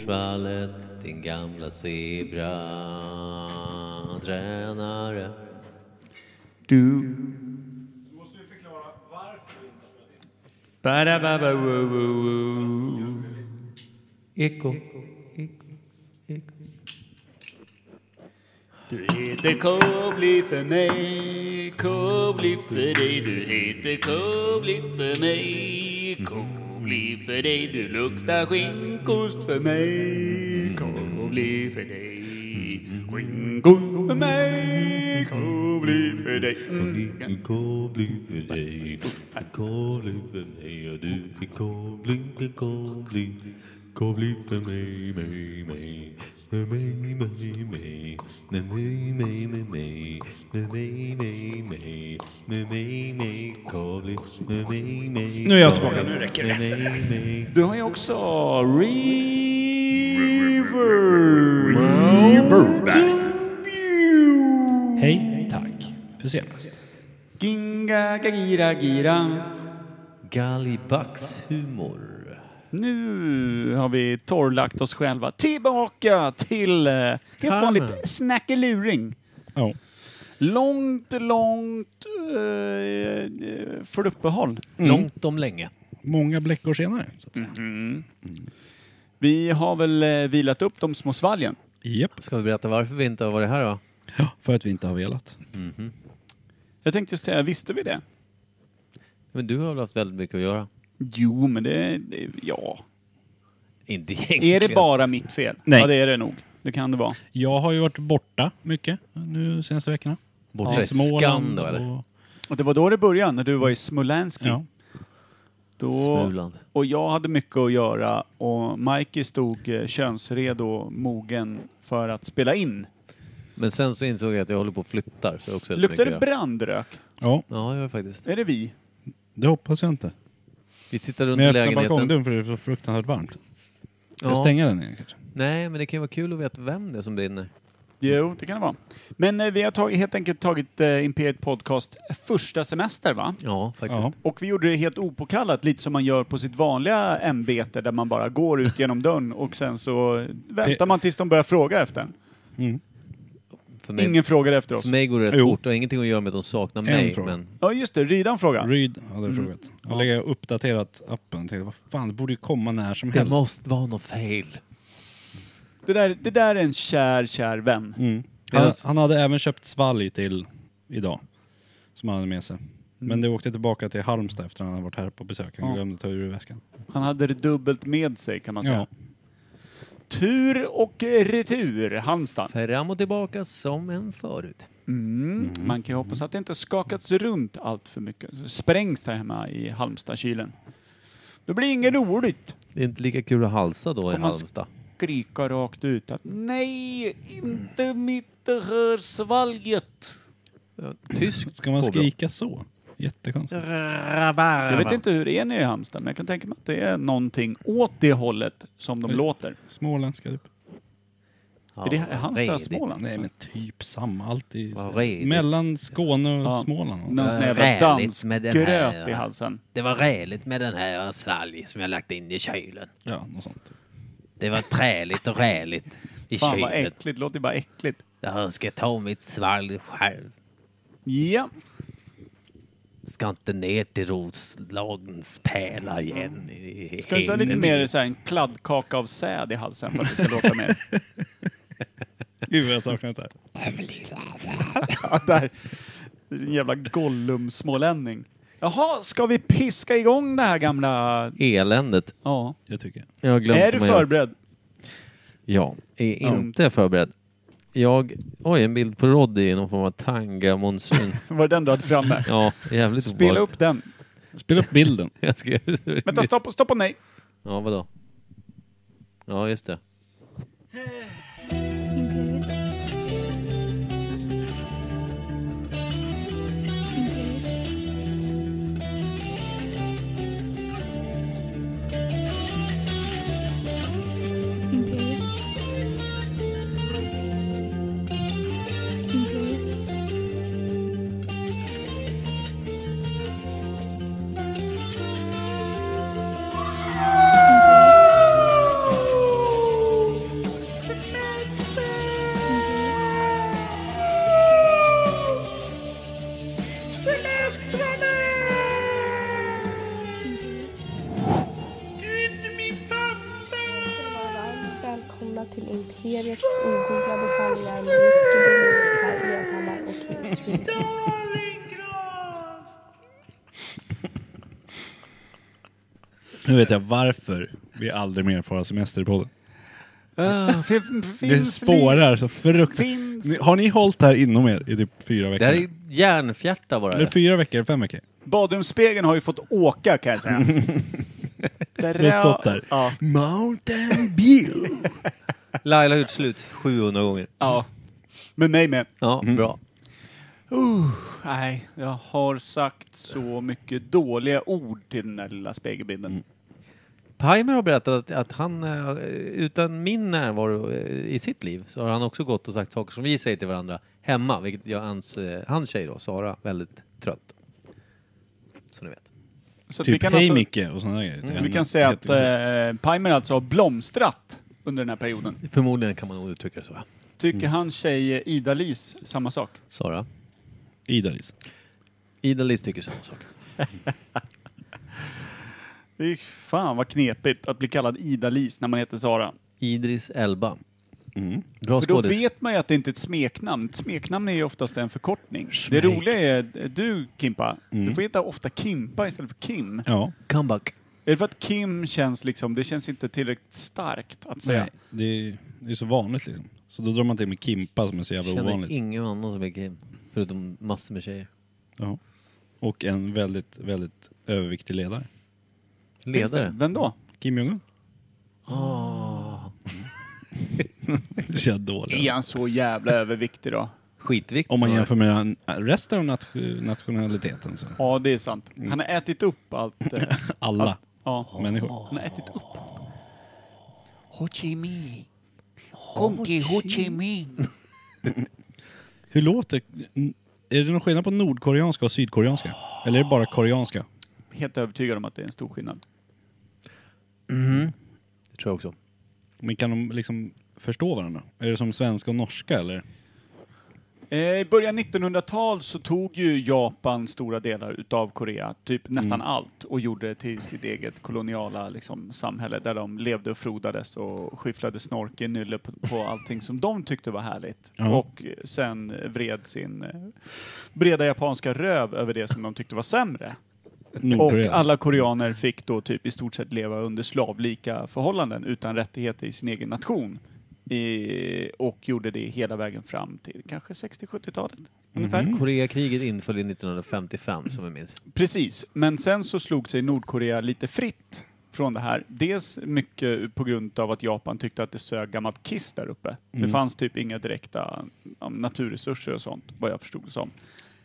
Storsvallet, din gamla zebra-drönare. Du. Ba-da-ba-ba-woo-woo-woo. Eko. Du heter Kobli för mig, Kobli för dig. Du heter Kobli för mig, Kobli för dig. Du luktar skinkost för mig, Kobli för dig. Skinkost för mig, Kobli för dig. Mm. Kobling för dig, kobling för mig och du. Kobling, kobling, kobling för mig, mig, mig. För mig, mig, mig. Med mig, mig, med mig. Med mig, mig, mig. Med mig, mig, kobling. Med mig, mig. Nu är Eh, jag tillbaka, nu räcker det. Med mig, mig. Du har ju också Reverb. Hej, tack för senast. Ginga, gagira, gira. Gallibax humor. Nu har vi torrlagt oss själva. Tillbaka till eh, helt Tarmen. vanligt snackeluring. Ja. Långt, långt eh, eh, för uppehåll. Långt om länge. Många bläckor senare, så att säga. Mhm. Vi har väl eh, vilat upp de små svalgen. Japp. Ska vi berätta varför vi inte har varit här då? För att vi inte har velat. Jag tänkte just säga, visste vi det? Men du har väl haft väldigt mycket att göra? Jo, men det... det ja. Inte egentligen. Är det bara mitt fel? Nej. Ja, det är det nog. Det kan det vara. Jag har ju varit borta mycket nu senaste veckorna. Borta i Skan Småland då eller? och- Och det var då det började, när du var i Smolenski. Ja. Då, Smuland. Och jag hade mycket att göra och Mikey stod eh, könsredo och mogen för att spela in. Men sen så insåg jag att jag håller på och flyttar. Så jag har också Luktar det bröd? brandrök? ja, Ja, jag gör det faktiskt. Är det vi? Det hoppas jag inte. Vi tittar runt Men i jag öppnar lägenheten. balkongdörren för det är så fruktansvärt varmt. Ska jag Ja. stänga den igen kanske? Nej, men det kan ju vara kul att veta vem det är som brinner. Jo, det kan det vara. Men eh, vi har tagit, helt enkelt tagit eh, Imperiet Podcast första semester, va? Ja, faktiskt. Ja. Och vi gjorde det helt opåkallat, lite som man gör på sitt vanliga ämbete där man bara går ut genom dörren och sen så väntar man tills de börjar fråga efter en. För, mig, Ingen frågade efter oss. för mig går det rätt Jo. fort. Det har ingenting att göra med att de saknar mig. fråga. Men Ja, just det. Rydan frågade. Read hade jag Mm. frågat. Jag lägger uppdaterat appen. Tänkte, vad fan, det borde ju komma när som det helst. måste vara något fel. Det där, det där är en kär, kär vän. Mm. Han, Medans- han hade även köpt svalg till idag. Som han hade med Mm. sig. Men det åkte tillbaka till Halmstad efter att han hade varit här på besök. Han Ja. glömde ta ur väskan. Han hade det dubbelt med sig kan man säga. Ja. Tur och retur, Halmstad. Fram och tillbaka som en förut. Mm. Man kan ju hoppas att det inte skakats runt allt för mycket. Sprängs där hemma i Halmstadkylen. Då blir det inget roligt. Det är inte lika kul att halsa då i Om man- Halmstad. Skrika rakt ut att "Mm, nej, inte mitt hörsvalget. Ja, Tyskt Ska man påbrå. skrika så? Jättekonstigt. Jag vet inte hur det är nere i Halmstad, men jag kan tänka mig att det är någonting åt det hållet som de Oj. låter. Småländska typ. Ja, Är det är Halmstad, redigt. Småland? Nej men typ samma. Alltid. Vad redigt. Mellan Skåne och Ja. Småland. Någon sån här Räligt jävla dansk med den här, gröt i va? halsen. Det var räligt med den här svalg som jag lagt in i kylen. Ja, något sånt. Det var träligt och räligt i Fan vad kylen. äckligt, låter bara äckligt. Jag ska ta mitt svalg själv. Ja, Ska inte ner till Roslagens pärla igen. i- i ska du inte ha lite himlen. mer så här, en kladdkaka av säd i halsen för att det ska låta mer? Gud vad jag saknar det här. Ja, där. En jävla Gollum-smålänning. Jaha, ska vi piska igång det här gamla... Eländet. Ja. Jag tycker. Jag har glömt Är hur du man gör. förberedd? Ja, är inte förberedd. Jag... Oj, en bild på Roddy i någon form av tanga-monsun. Var det den du hade framme? Ja, jävligt Spela obehagligt. upp den. Spela upp bilden. Jag ska... Vänta, stoppa, stoppa mig. Ja, vadå? Ja, just det. Imperiet. Imperiet. Imperiet. Imperiet. Imperiet. Välkomna till Imperiet ogooglade sanningar med Jocke Berlin, Per Evhammar och Kim Sweden. Nu vet jag varför vi aldrig mer får ha semester i podden. Det spårar så fruktansvärt. Finns- Ni- Har ni hållit det här inom er i typ fyra Det veckor? här är järnfjärta bara. Eller fyra veckor, fem veckor? Badrumsspegeln har ju fått åka kan jag säga. Där Du har stått där. Ja. Mountain View! Laila har gjort slut 700 gånger. ja. Med mig med. Mm. Uh, Ja, bra. Nej, jag har sagt så mycket dåliga ord till den där lilla spegelbilden. Mm. Pajmer har berättat att, att han eh, utan min närvaro eh, i sitt liv så har han också gått och sagt saker som vi säger till varandra hemma, vilket gör hans, eh, hans tjej då, Sara, väldigt trött. Så ni vet. Så att Typ vi kan, hej alltså, Micke och sådana grejer. till henne. vi kan säga att Jättemycket. eh, Pimer alltså har blomstrat under den här perioden. Förmodligen kan man nog uttrycka det så. va? Tycker Mm. hans tjej Ida-Lis samma sak? Sara? Idalis. Ida-Lis tycker samma sak. Det är fan vad knepigt att bli kallad Ida-Lis när man heter Sara. Idris Elba. Mm. Bra För då skådis. vet man ju att det inte är ett smeknamn. Ett smeknamn är ju oftast en förkortning. Det roliga är, eh, du Kimpa, du Mm. får heta ofta Kimpa istället för Kim. Ja. Comeback. Är det för att Kim känns liksom, det känns inte tillräckligt starkt att säga. Nej, det, är, det är så vanligt liksom. Så då drar man till med Kimpa som är så jävla Känner ovanligt. ingen annan som är Kim. Förutom massor med tjejer. ja. Och en väldigt, väldigt överviktig ledare. Finns det? Ledare. Vem då? Kim Jong-Un. Det känns dåligt. Är han så jävla överviktig då? Skitvikt. Om man jämför med den- resten av nat- nationaliteten så. Ja, det är sant. Mm. Han har ätit upp allt. eh, Alla Ja. människor. Han har ätit upp allt. Ho Chi Minh. Kom till Ho Chi Minh. Hur låter... n- Är det någon skillnad på nordkoreanska och sydkoreanska? Eller är det bara koreanska? Helt övertygad om att det är en stor skillnad. Det tror jag också. Men kan de liksom förstå varandra? Är det som svenska och norska eller? Eh, I början 1900-tal så tog ju Japan stora delar utav Korea, typ nästan allt, och gjorde det till sitt eget koloniala liksom, samhälle där de levde och frodades och skyfflade snork i nylle på, på allting som de tyckte var härligt. Ja. Och eh, sen vred sin eh, breda japanska röv över det som de tyckte var sämre. Nordkorea? Och alla koreaner fick då typ i stort sett leva under slavlika förhållanden utan rättigheter i sin egen nation. I, och gjorde det hela vägen fram till kanske 60-70-talet. Ungefär. Mm. Koreakriget inföll i 1955 som vi minns. Precis, men sen så slog sig Nordkorea lite fritt från det här. Dels mycket på grund av att Japan tyckte att det sög gammalt kiss där uppe. Det fanns typ inga direkta ja, naturresurser och sånt, vad jag förstod det som.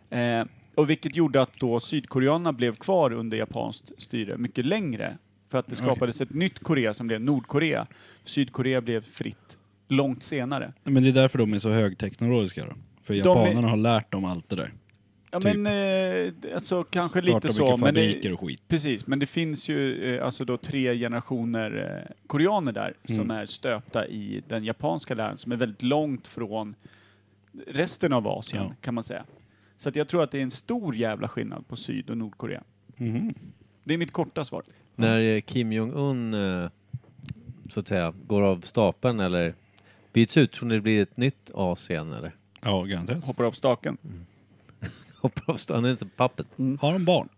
Eh, och vilket gjorde att då sydkoreanerna blev kvar under japanskt styre mycket längre. För att det skapades ett nytt Korea som blev Nordkorea. Sydkorea blev fritt långt senare. Men det är därför de är så högteknologiska då? För japanerna har lärt dem allt det där. Ja Typ. men eh, alltså kanske Starta lite så. mycket Men fabriker det, och skit. Precis, men det finns ju eh, alltså då tre generationer eh, koreaner där som är stöpta i den japanska läran som är väldigt långt från resten av Asien Ja. kan man säga. Så att jag tror att det är en stor jävla skillnad på Syd och Nordkorea. Mhm. Det är mitt korta svar. När eh, Kim Jong-Un eh, så att säga går av stapeln eller byts ut, tror ni det blir ett nytt Asien eller? Ja, garanterat. Hoppar av staken. Hoppar av stapeln. Han är inte pappet. Mm. Har de barn?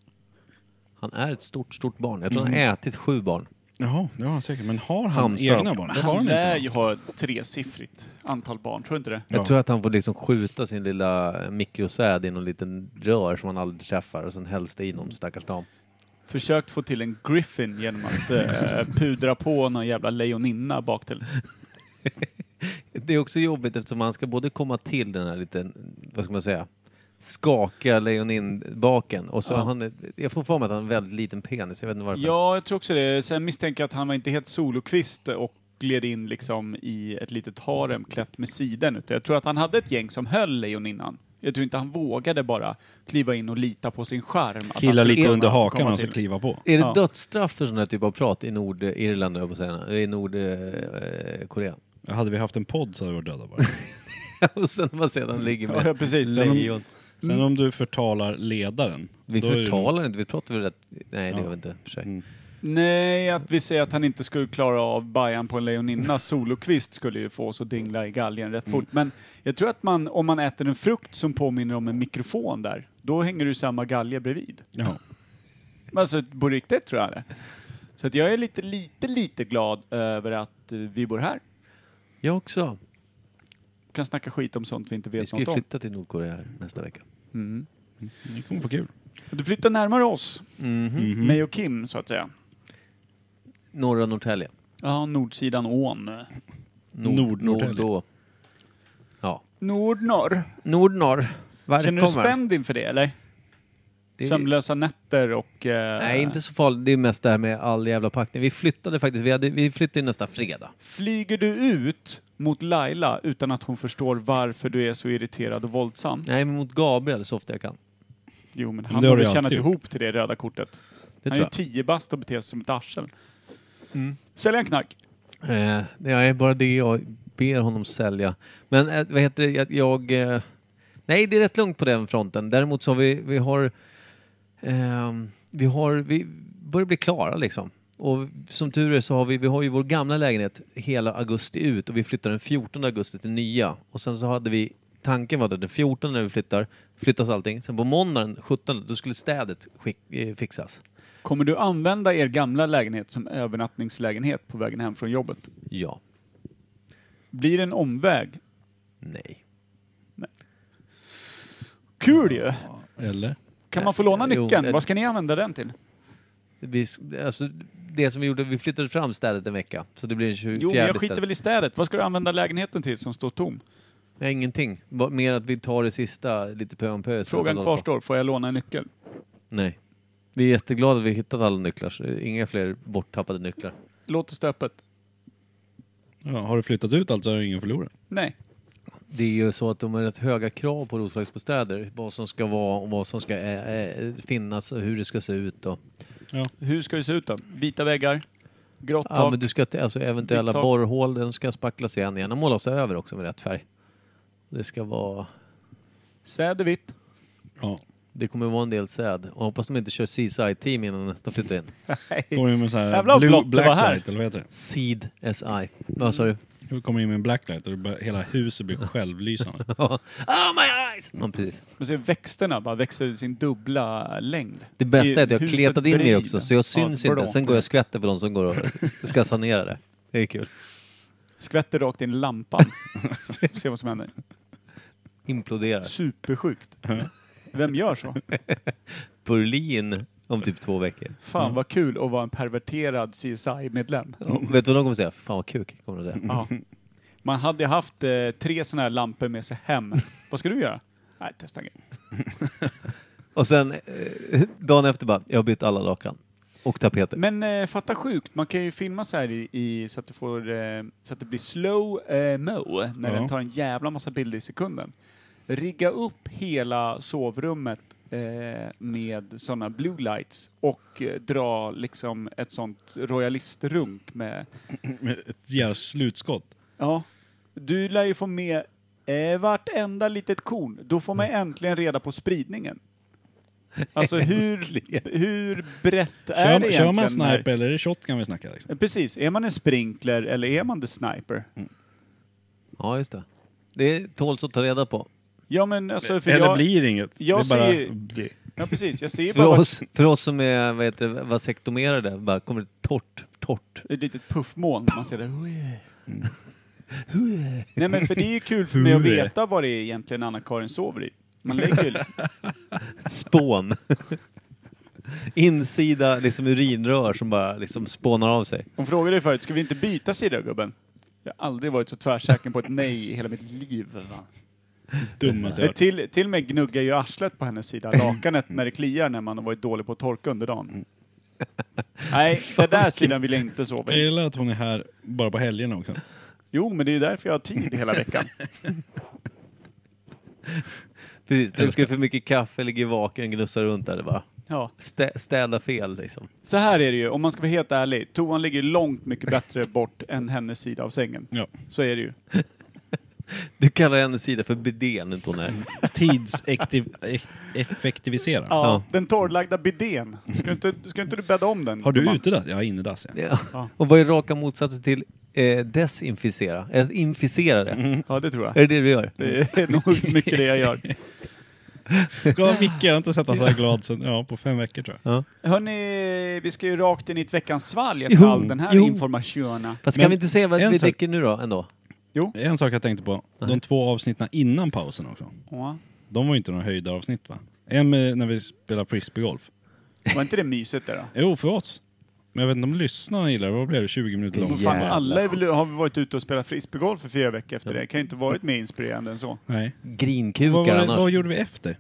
Han är ett stort, stort barn. Jag tror han Mm. har ätit sju barn. Jaha, det har han säkert. Men har han Hamstrar. egna barn? Det har Han han lär inte. ju ha ett tresiffrigt antal barn, tror du inte det? Jag Ja. tror att han får liksom skjuta sin lilla mikrosäd i någon liten rör som han aldrig träffar och sen hälls det i någon stackars dam. Försökt få till en griffin genom att eh, pudra på någon jävla lejoninna bak till. Det är också jobbigt eftersom han ska både komma till den här liten, vad ska man säga, skakiga lejoninbaken och så Ja. har han, jag får för mig att han har en väldigt liten penis, jag vet inte varför. Ja, jag tror också det. Sen misstänker jag att han var inte helt solokvist och gled in liksom i ett litet harem klätt med siden. Utan jag tror att han hade ett gäng som höll lejoninnan. Jag tror inte han vågade bara kliva in och lita på sin charm. att han Killa skulle lite kunna under få hakan komma och så till. kliva på. Är det Ja. dödsstraff för sån här typ av prat i Nordirland, höll jag på att säga, i Nordkorea? Eh, Korea? Hade vi haft en podd så hade vi varit döda bara. och sen när man sedan ligger med Ja, precis. Sen om- lejon. Sen om du förtalar ledaren. Vi då är det- förtalar inte, vi pratar väl rätt... Nej, det Ja. gör vi inte i och för sig. Mm. Nej, att vi säger att han inte skulle klara av Bajan på en lejoninna solokvist skulle ju få oss att dingla i galgen rätt Mm. fort. Men jag tror att man, om man äter en frukt som påminner om en mikrofon där, då hänger du samma galge bredvid. Ja. Alltså på riktigt tror jag det. Så att jag är lite, lite, lite glad över att eh, vi bor här. Jag också. Kan snacka skit om sånt vi inte Vi vet ska ju något om. flytta till Nordkorea här nästa vecka. Mm. Det kommer få kul. Du flyttar närmare oss, Mhm. mig och Kim så att säga. Norra Norrtälje. Ja, nordsidan ån. Nord-Norrtälje. Nordå. Ja. Nordnorr. Nordnorr. Känner du spänd inför det eller? Det- Sömnlösa nätter och... eh, Nej, inte så farligt. Det är mest det här med all jävla packning. Vi flyttade faktiskt. Vi, hade, vi flyttade ju nästa fredag. Flyger du ut mot Laila utan att hon förstår varför du är så irriterad och våldsam? Nej, men mot Gabriel så ofta jag kan. Jo, men det han har du har väl alltid tjänat gjort. ihop till det röda kortet. Det han är ju tror Mm. tio bast och beter sig som ett arsel. Säljer han knark? jag. Eh, det är bara det jag ber honom sälja. Men eh, vad heter det? Jag... jag eh, nej, det är rätt lugnt på den fronten. Däremot så har vi... Vi har... ehm, vi har... Vi börjar bli klara liksom. Och som tur är så har vi, vi har ju vår gamla lägenhet hela augusti ut och vi flyttar den 14 augusti till nya. Och sen så hade vi, tanken var att den 14 när vi flyttar, flyttas allting. Sen på måndagen 17 då skulle städet skick, eh, fixas. Kommer du använda er gamla lägenhet som övernattningslägenhet på vägen hem från jobbet? Ja. Blir det en omväg? Nej. Kul ju! Eller? Kan man få låna Eh, Jo, nyckeln? det- Vad ska ni använda den till? Vi, alltså, det som vi gjorde, vi flyttade fram städet en vecka. Så det blir den 24 Jo, men jag skiter istället. väl i städet. Vad ska du använda lägenheten till som står tom? Nej, ingenting. Va- Mer att vi tar det sista lite pö om pö. istället för att Frågan hålla på. kvarstår. Får jag låna en nyckel? Nej. Vi är jätteglada att vi hittat alla nycklar. så Inga fler borttappade nycklar. Låt oss öppet. Ja, har du flyttat ut allt så är det ingen förlorare. Nej. Det är ju så att de har rätt höga krav på Roslagsbostäder. Vad som ska vara och vad som ska eh, eh, finnas och hur det ska se ut. Och. Hur ska det se ut då? Vita väggar? Grått Ja, tak? men du ska, t- alltså, eventuella Ditt tak. borrhål den ska spacklas igen. Gärna målas över också med rätt färg. Det ska vara Säder vitt? Ja. Det kommer vara en del säd. Och hoppas de inte kör CSI-team innan nästa flyttar in. Kommer in med så här Jävlar vad blue blått det var här. blacklight, eller vad heter Seed SI. Vad sa du? det? Kommer in med en blacklight och det bara, hela huset blir självlysande. oh my eyes! Ja, precis. Man ser växterna bara växer i sin dubbla längd. Det bästa I är att jag huset kletat in i det bredvid. också så jag syns Ja, inte. blå. Sen går jag och skvätter på de som går och ska sanera det. Det är kul. Skvätter rakt in i lampan. Får Se vad som händer. Imploderar. Supersjukt. Vem gör så? Berlin om typ två veckor. Fan vad kul att vara en perverterad CSI-medlem. Och Vet du vad de kommer säga? Fan vad kuk, kommer de säga. Ja. Man hade haft eh, tre sådana här lampor med sig hem. Vad ska du göra? Nej, testa en grej. Och sen eh, dagen efter bara, jag har bytt alla lakan. Och tapeter. Men eh, fatta sjukt, man kan ju filma så här i, i, så, att du får, eh, så att det blir slow eh, mo när Ja. den tar en jävla massa bilder i sekunden. Rigga upp hela sovrummet eh, med sådana blue lights och eh, dra liksom ett sånt royalistrunk med... Med ett jävla slutskott. Ja, du lär ju få med eh, vartenda litet korn. Då får Mm. man äntligen reda på spridningen. Alltså hur, hur brett är det Kör, egentligen? kör man när- sniper eller är det shotgun vi snackar liksom? Precis. Är man en sprinkler eller är man the sniper? Mm. Ja, just det. Det tåls att ta reda på. Ja, men alltså... För Eller jag, blir det inget? jag det är bara... ser- Ja, precis. Jag ser bara För vart- oss, för oss som är vad heter det, vasektomerade, bara kommer det torrt, torrt. ett litet puffmoln. Man ser det. Mm. Nej, men för det är ju kul för mig att veta vad det är egentligen Anna-Karin sover i. Man lägger ju liksom... spån. Insida liksom urinrör som bara liksom spånar av sig. Hon frågade dig förut, ska vi inte byta sida gubben? Jag har aldrig varit så tvärsäker på ett nej i hela mitt liv. va? Dummaste jag Men hört. Till, till och med gnuggar ju arslet på hennes sida, lakanet, när det kliar när man har varit dålig på att torka under dagen. Nej, den där sidan vill jag inte sova Jag i. gillar att hon är här bara på helgerna också. Jo, men det är ju därför jag har tid hela veckan. Precis, dricker för mycket kaffe, ligger vaken, gnussar runt där. Det bara Ja. stä, städa fel liksom. Så här är det ju, om man ska vara helt ärlig. Toan ligger långt mycket bättre bort än hennes sida av sängen. Ja. Så är det ju. Du kallar hennes sida för bidén, inte hon är. e- Tidseffektivisera. Ja, Ja. Den torrlagda bidén. Ska inte, ska inte du bädda om den? Har du gumman? utedass? Jag har innedass. Ja. Ja. Och vad är raka motsatsen till eh, desinficera? Eller inficera det? Mm. Ja, det tror jag. Är det det du gör? Det är nog mycket det jag gör. Gav Micke, jag har inte sett honom så här glad sen, ja, på fem veckor tror jag. Hörni, vi ska ju rakt in i ett veckans svalg efter Jo, all den här jo. informationen. Fast Men kan vi inte se vad en vi sak- dricker nu då ändå? En sak jag tänkte på, de två avsnitten innan pausen också. Ja. De var ju inte några höjda avsnitt va? En med, när vi spelade frisbeegolf. Var inte det mysigt det då? Jo, för oss. Men jag vet inte om lyssnarna gillar det. Vad blev det? 20 minuter Men långt? fan, Bara- alla är väl, har vi varit ute och spelat frisbeegolf för fyra veckor efter det. Kan ju inte varit mer inspirerande än så. Nej. Vad, Grinkukar var det, annars. vad gjorde vi efter?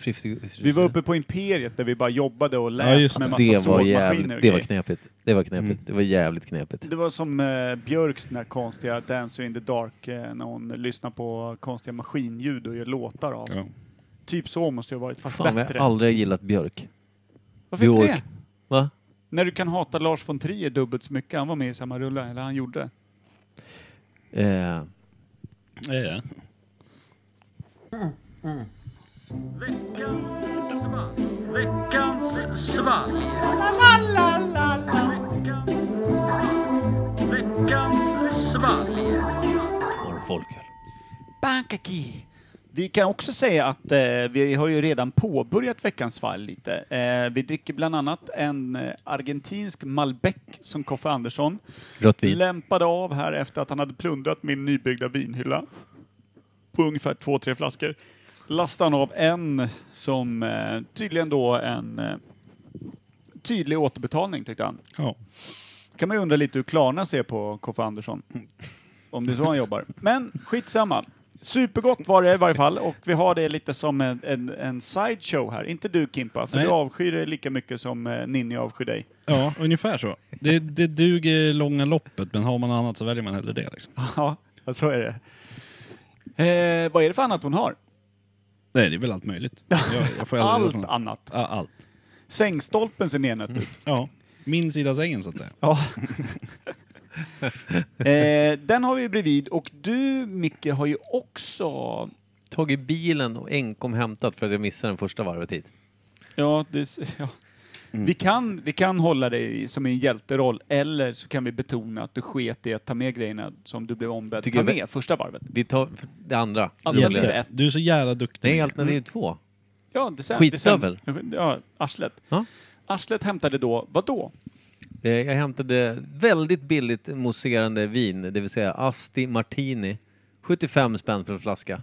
Frifs- Vi var uppe på Imperiet där vi bara jobbade och Ja, lät just med massa det var sågmaskiner jävligt, och det var grejer. knepigt. Det var knepigt. Det var jävligt knepigt. Det var som eh, Björks den där konstiga Dance in the Dark eh, när hon lyssnar på konstiga maskinljud och gör låtar av. Ja. Typ så måste det ha varit, fast Fan, jag har bättre. aldrig gillat Björk. Varför inte Björk. det? Va? När du kan hata Lars von Trier dubbelt så mycket. Han var med i samma rulle, eller han gjorde. Eh, Ja, ja. Bankaki. Vi kan också säga att eh, vi har ju redan påbörjat veckans fall lite. Eh, vi dricker bland annat en eh, argentinsk Malbec som Koffe Andersson rött vin. lämpade av här efter att han hade plundrat min nybyggda vinhylla på ungefär två, tre flaskor. Lastade han av en som eh, tydligen då en eh, tydlig återbetalning tyckte han. ja. kan man ju undra lite hur Klarna ser på Koffe Andersson. Om det är så han jobbar. Men skitsamma. Supergott var det i varje fall och vi har det lite som en, en, en sideshow här. Inte du Kimpa, för Nej. du avskyr det lika mycket som eh, Ninni avskyr dig. ja ungefär så. Det, det duger i det långa loppet, men har man annat så väljer man hellre det. Liksom. Ja, så är det. Eh, vad är det för annat hon har? Nej, det är väl allt möjligt. Jag, jag får aldrig Allt något. annat. Ja, allt. Sängstolpen ser nenet Mm. ut. Ja. Min sida sängen så att säga. Ja. eh, den har vi bredvid och du Micke har ju också... Tagit bilen och enkom hämtat för att jag missade den första varvet hit. Ja, det, s- ja. Mm. Vi, kan, vi kan hålla dig som i en hjälteroll eller så kan vi betona att du sket i att ta med grejerna som du blev ombedd att Tycker ta jag- med första varvet. Vi tar det andra. Alternativ Gäller- ett. Du är så jävla duktig. Nej, alternativ två. Ja, det sen, Skitstövel. det sen- Ja, arslet. Ja. Arslet hämtade då, vad då? Eh, Jag hämtade väldigt billigt mousserande vin, det vill säga Asti Martini. 75 spänn för en flaska.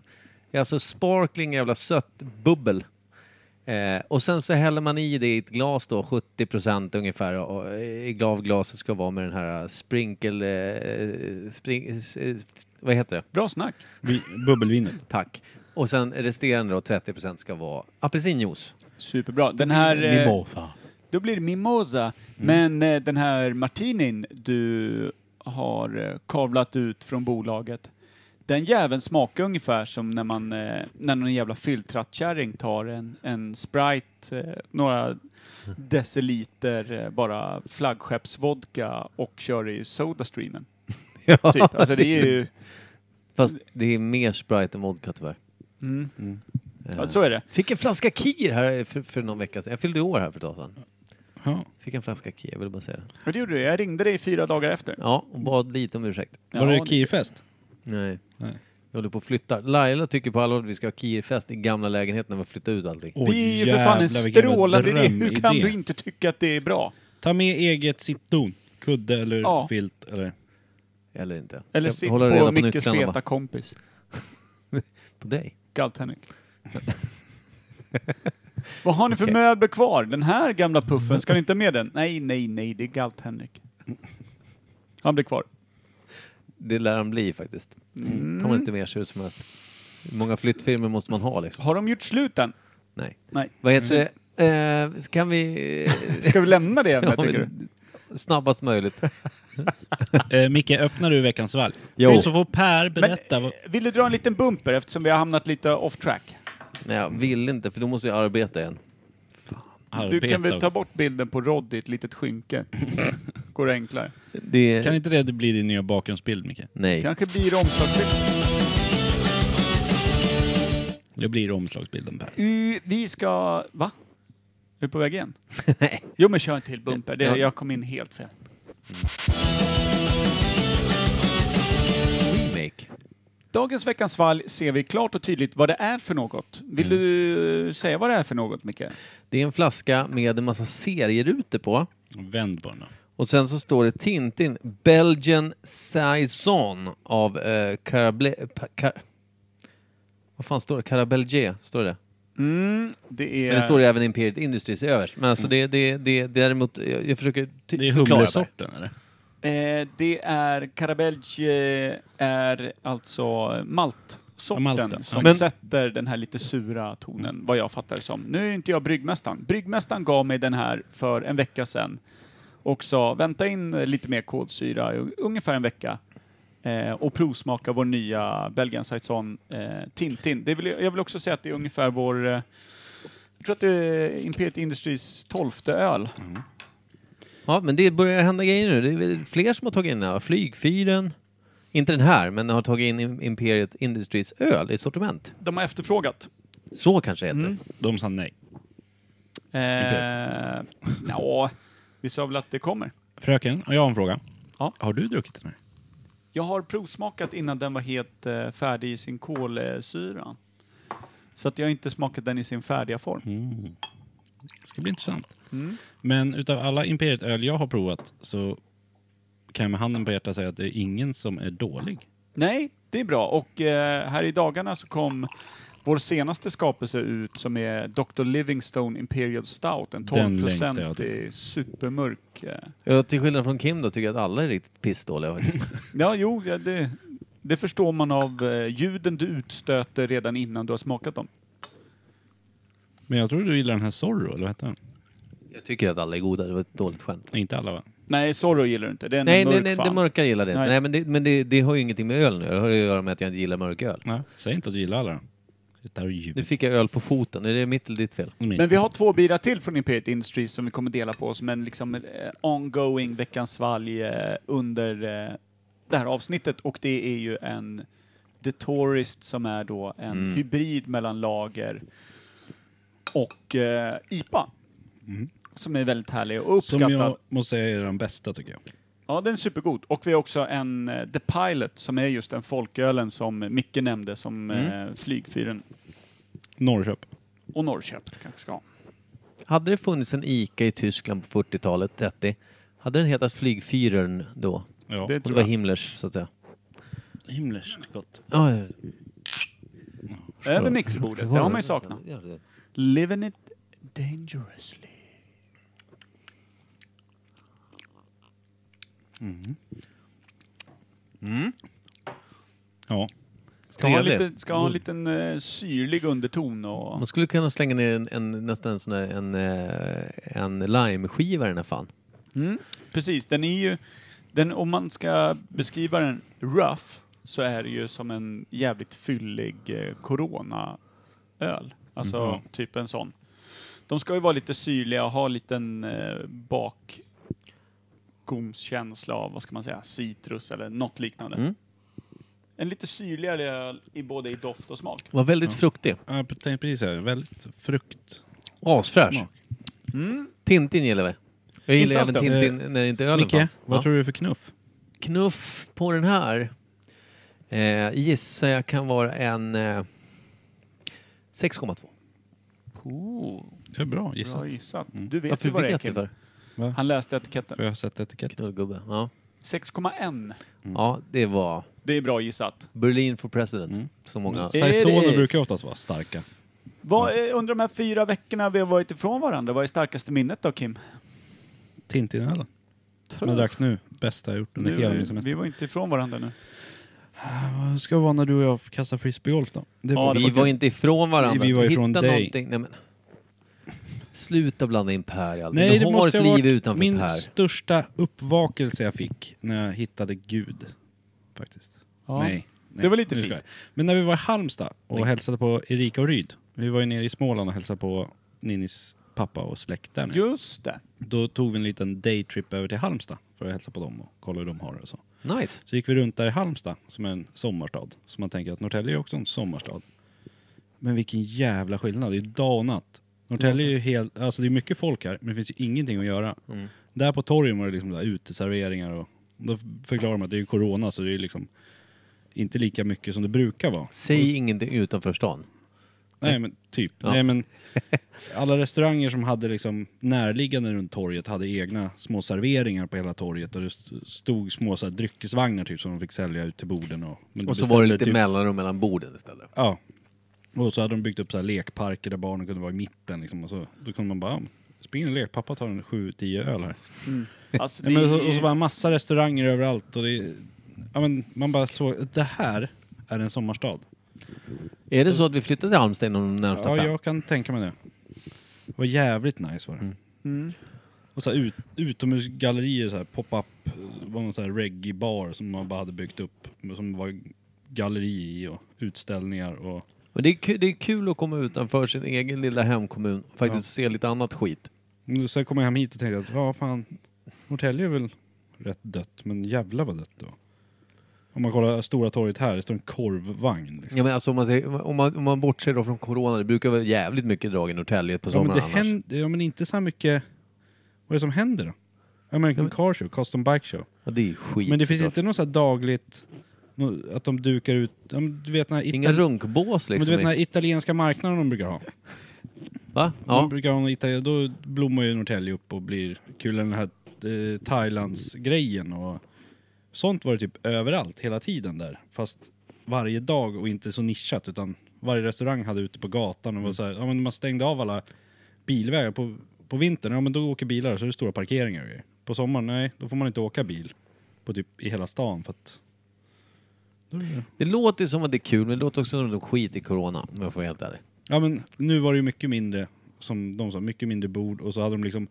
Det är alltså sparkling jävla sött bubbel. Eh, och sen så häller man i det i ett glas då, 70% ungefär och, eh, i av glaset ska vara med den här sprinkle... Eh, spring, eh, vad heter det? Bra snack. Vi, bubbelvinet. Tack. Och sen resterande då, 30% ska vara apelsinjuice. Superbra. Den här... eh, Mimosa. Då blir det Mm. mimosa. Men eh, den här martinin du har eh, kavlat ut från bolaget. Den jäveln smakar ungefär som när man, eh, när någon jävla fylltrattkärring tar en, en Sprite, eh, några deciliter eh, bara flaggskeppsvodka och kör i Sodastreamen. Typ. Alltså det är ju, Fast det är mer Sprite än vodka tyvärr. mm. ja, så är det. Fick en flaska Kir här för, för någon vecka sedan. Jag fyllde år här för ett tag sedan. Ja. Fick en flaska Kir, jag ville bara säga det. Och det gjorde du. Jag ringde dig fyra dagar efter. Ja, och bad lite om ursäkt. Var Ja, det det- Kirfest? Nej. Nej. Jag håller på och flyttar. Laila tycker på allvar att vi ska ha Kir-fest i gamla lägenheten när vi flyttar ut allting. Åh, Det är ju för fan en jävlar, vilken jävla strålande idé. Hur kan drömidé. du inte tycka att det är bra? Ta med eget sittdon. Kudde eller Ja. filt eller... Eller inte. Eller Jag sitt håller reda på Mickes nycklarna feta bara. kompis. På dig. Galthennik. Vad har ni för möbler kvar? Den här gamla puffen, ska ni inte med den? Nej, nej, nej, det är Galt-Henrik. Han blir kvar. Det lär han bli faktiskt. Mm. Tar man inte med sig hur som helst. Hur många flyttfirmor måste man ha liksom? Har de gjort slut än? Nej. Nej. Vad heter Mm. det? Eh, kan vi... Ska vi lämna det ämnet, Ja, tycker du? men Snabbast möjligt. Eh, Micke, öppnar du veckans valg? Jo. Så får Per Men, berätta. vad... eh, vill du dra en liten bumper eftersom vi har hamnat lite off track? Nej, jag vill inte för då måste jag arbeta igen. Du kan väl Arbeta. ta bort bilden på Roddy i ett litet skynke? Går det enklare. Det... Kan inte det bli din nya bakgrundsbild, Micke? Nej. Kanske blir det omslagsbild. Det blir omslagsbilden Per. Uh, vi ska... Va? Är du på väg igen? Jo, men kör en till bumper. Det, jag kom in helt fel. Remake. Dagens Veckans Valg ser vi klart och tydligt vad det är för något. Vill du eh, säga vad det är för något, Micke? Det är en flaska med en massa serierutor på. Vänd på den då. Och sen så står det Tintin, Belgian Saison av eh, Carable... Pa, Car- vad fan står det? Carabelgier, står det. Mm, det är... Men det står det även Imperiet Industries överst. Men alltså det, det, det, däremot, jag, jag försöker ty- Det är förklara bara. humlesorten eller? Eh, det är Carabelge är alltså maltsorten Ja, malten. som Men- sätter den här lite sura tonen, vad jag fattar det som. Nu är inte jag bryggmästaren. Bryggmästaren gav mig den här för en vecka sedan och sa vänta in eh, lite mer kolsyra, i u- ungefär en vecka. Eh, och provsmaka vår nya Belgian Saison eh, Tintin. Det vill, jag- jag vill också säga att det är ungefär vår... Eh, jag tror att det är Imperiet Industries tolfte öl. Ja, men det börjar hända grejer nu. Det är väl fler som har tagit in den här. Flygfyren. Inte den här, men har tagit in Im- Imperiet Industries öl i sortiment. De har efterfrågat. Så kanske det heter. De sa nej. Eh, ja, vi sa väl att det kommer. Fröken, jag har en fråga. Ja. Har du druckit den här? Jag har provsmakat innan den var helt eh, färdig i sin kolsyra. Så att jag har inte smakat den i sin färdiga form. Mm. Det ska bli intressant. Mm. Men utav alla Imperiet-öl jag har provat så kan jag med handen på hjärtat säga att det är ingen som är dålig. Nej, det är bra. Och eh, här i dagarna så kom vår senaste skapelse ut som är Dr. Livingstone Imperial Stout. En Den längtar jag 12-procentig supermörk. Eh. Ja, till skillnad från Kim då tycker jag att alla är riktigt pissdåliga faktiskt. Ja, jo, ja, det, det förstår man av eh, ljuden du utstöter redan innan du har smakat dem. Men jag tror du gillar den här Zorro, eller vad heter den? jag tycker att alla är goda, det var ett dåligt skämt. Nej, inte alla va? Nej, Zorro gillar du inte. Det är en Nej, mörk nej, nej, fan. det mörka gillar det. Nej. Nej, men, det, men det, det har ju ingenting med öl nu. Det har ju att göra med att jag inte gillar mörk öl. Nej. Säg inte att du gillar alla. Det där är ljud. Nu fick jag öl på foten. Är det mitt eller ditt fel? Min. Men vi har två bira till från Imperiet Industries som vi kommer dela på som en liksom eh, ongoing Veckans Valg eh, under eh, det här avsnittet och det är ju en The Tourist som är då en Mm. hybrid mellan lager och eh, IPA. Som är väldigt härlig och Mm. Som uppskattad. jag måste säga är den bästa tycker jag. Ja, den är supergod. Och vi har också en eh, The Pilot som är just den folkölen som Micke nämnde som Mm. eh, flygfyren Norrköp. och Norrköping kanske ska ha. Hade det funnits en ICA i Tyskland på 40-talet, 30, hade den hetat Flygfyrern då? Ja. Det Om det tror var jag. Himmlers, så att säga. Himleskt gott. Ja, ja. Över mixerbordet, det har man ju saknat. Ja, det- Living it dangerously. Ja. Ska ha, Trevlig. lite, ska ha en liten eh, syrlig underton och... Man skulle kunna slänga ner en, en, nästan en, sån här, en, eh, en limeskiva i den här fan. Precis, den är ju... Den, om man ska beskriva den rough så är det ju som en jävligt fyllig eh, corona-öl. Alltså typ en sån. De ska ju vara lite syrliga och ha en liten eh, bakgomskänsla av, vad ska man säga, citrus eller något liknande. Mm. En lite syrligare öl i både i doft och smak. Var väldigt fruktig. Ja, jag tänkte precis säga det. Väldigt frukt. Asfräsch. Smak. Tintin gillar vi. Jag gillar Inte även det. alls Tintin när inte ölen Eh, Micke, fanns. vad Ja. tror du för knuff? Knuff på den här eh, gissar jag kan vara en eh, 6,2. Det är bra Bra gissat. Mm. gissat. Du vet Varför ju vad det är fick jag Kim. det för? Han läste etiketten. För jag har sett etiketten. Knullgubbe. Ja. 6,1. Mm. ja, det var Det är bra gissat. Berlin for president. Mm. Som många... det- Saisoner brukar ju oftast vara starka. Vad, eh, under de här fyra veckorna vi har varit ifrån varandra, vad är starkaste minnet då Kim? Tintinölen. Som jag drack nu. Bästa jag gjort under hela min Nu, semester. vi var inte ifrån varandra nu. Vad ska det vara när du och jag kastar frisbeegolf då? Det Ja, var- det vi var inte ifrån varandra. Vi var ifrån Hitta dig. någonting. Nej, men. Sluta blanda in Per i allt. Nej, Du det har måste ett ha liv varit utanför min Per. största uppvakelse jag fick när jag hittade Gud. Faktiskt. Nej, nej. Det var lite nu fint. ska jag. Men när vi var i Halmstad och hälsade på Erika och Ryd. Vi var ju nere i Småland och hälsade på Ninnis pappa och släkt där nere. Just det. Då tog vi en liten daytrip över till Halmstad för att hälsa på dem och kolla hur de har det och så. Nice. Så gick vi runt där i Halmstad, som är en sommarstad. Så man tänker att Norrtälje är också en sommarstad. Men vilken jävla skillnad. Det är dag och natt. Norrtälje är ju helt... Alltså det är mycket folk här, men det finns ju ingenting att göra. Där på torgen var det liksom där uteserveringar och... Då förklarar de att det är ju corona så det är liksom inte lika mycket som det brukar vara. Säg ingenting utanför stan. Nej men typ. Ja. Nej, men alla restauranger som hade liksom närliggande runt torget hade egna små serveringar på hela torget och det st- stod små så här, dryckesvagnar typ som de fick sälja ut till borden. Och, men Och så var det beställde lite typ- mellanrum mellan borden istället. Ja. Och så hade de byggt upp så här lekparker där barnen kunde vara i mitten liksom. Och så, då kunde man bara, ja, spring in och lek, pappa tar en 7-10 öl här. Alltså, Nej, men, så, och så bara massa restauranger överallt och det, ja, men, man bara såg, det här är en sommarstad. Är det så att vi flyttar till Halmstad inom de närmsta Ja, fem? jag kan tänka mig det. Det var jävligt nice var det. Och så här ut, utomhusgallerier, så här pop-up, det var någon så här reggae-bar som man bara hade byggt upp, men som var galleri i och utställningar och... Men det, är kul, det är kul att komma utanför sin egen lilla hemkommun och faktiskt se lite annat skit. Men Sen kom jag hem hit och tänkte att, ja fan, Norrtälje är väl rätt dött, men jävla vad dött då. Om man kollar Stora torget här, det står en korvvagn liksom. Ja, men alltså, om, man säger, om, man, om man bortser då från corona, det brukar vara jävligt mycket drag i Norrtälje på Ja sommaren men, det annars. händer, ja men inte så här mycket... Vad är det som händer då? American Car Show, Custom Bike Show. Ja, det är skit Men det finns såklart. inte något så här dagligt, nå- att de dukar ut, ja, men du vet den här, Inga itali- runkbås men du liksom. vet den här i- italienska marknaden de brukar ha. Va? De Ja. brukar ha någon itali- då blommar ju Norrtälje upp och blir kul, den här eh, Thailands-grejen och sånt var det typ överallt hela tiden där. Fast varje dag och inte så nischat utan varje restaurang hade ute på gatan Mm. och var så här, ja, men man stängde av alla bilvägar på, på vintern, ja men då åker bilar så är det stora parkeringar och grejer. På sommaren, nej, då får man inte åka bil på typ i hela stan för att Det låter ju som att det är kul, men det låter också som att de skit i corona, om jag får vara helt ärlig. Ja men nu var det ju mycket mindre, som de sa, mycket mindre bord och så hade de liksom,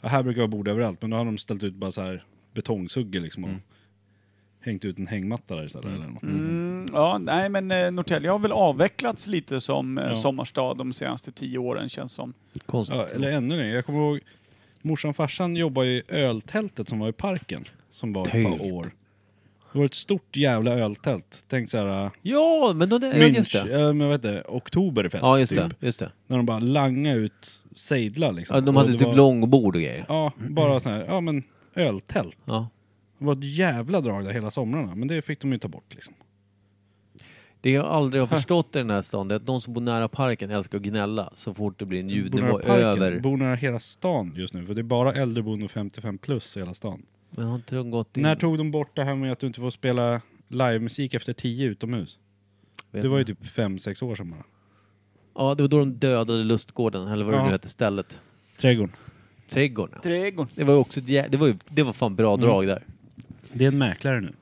ja, här brukar vara bord överallt men då hade de ställt ut bara så här betongsuggor liksom och hängt ut en hängmatta där istället eller något. Mm, ja, nej men eh, Norrtälje har väl avvecklats lite som eh, Ja. sommarstad de senaste tio åren känns som. Konstigt. Ja, eller ännu längre, jag kommer ihåg morsan och farsan jobbade i öltältet som var i parken, som var ett par Tält. år. Det var ett stort jävla öltält, tänk såhär, Ja, men då, det, ja, just Münch, det. eller men vad heter det, Oktoberfest Ja, just typ. det. Just det. När de bara langade ut sejdlar liksom. Ja, de Och hade det typ var- långbord och grejer. Ja, bara sån här, ja men öltält. Ja. Det var ett jävla drag där hela somrarna, men det fick de ju ta bort liksom. Det jag aldrig har förstått i den här stan, det är att de som bor nära parken älskar att gnälla så fort det blir en Bor ljudnivå nära parken, över. bor nära hela stan just nu, för det är bara äldreboende och 55 plus i hela stan. Men har inte de gått in? När tog de bort det här med att du inte får spela livemusik efter 10 utomhus? Vet det var ju inte. typ 5-6 år sedan bara. Ja, det var då de dödade lustgården, eller vad det Ja. nu hette, stället. Trädgården. Trädgården. ja. Trädgården. Det var ju också ett jä... det var, ju... det var fan bra drag där. Det är en mäklare nu.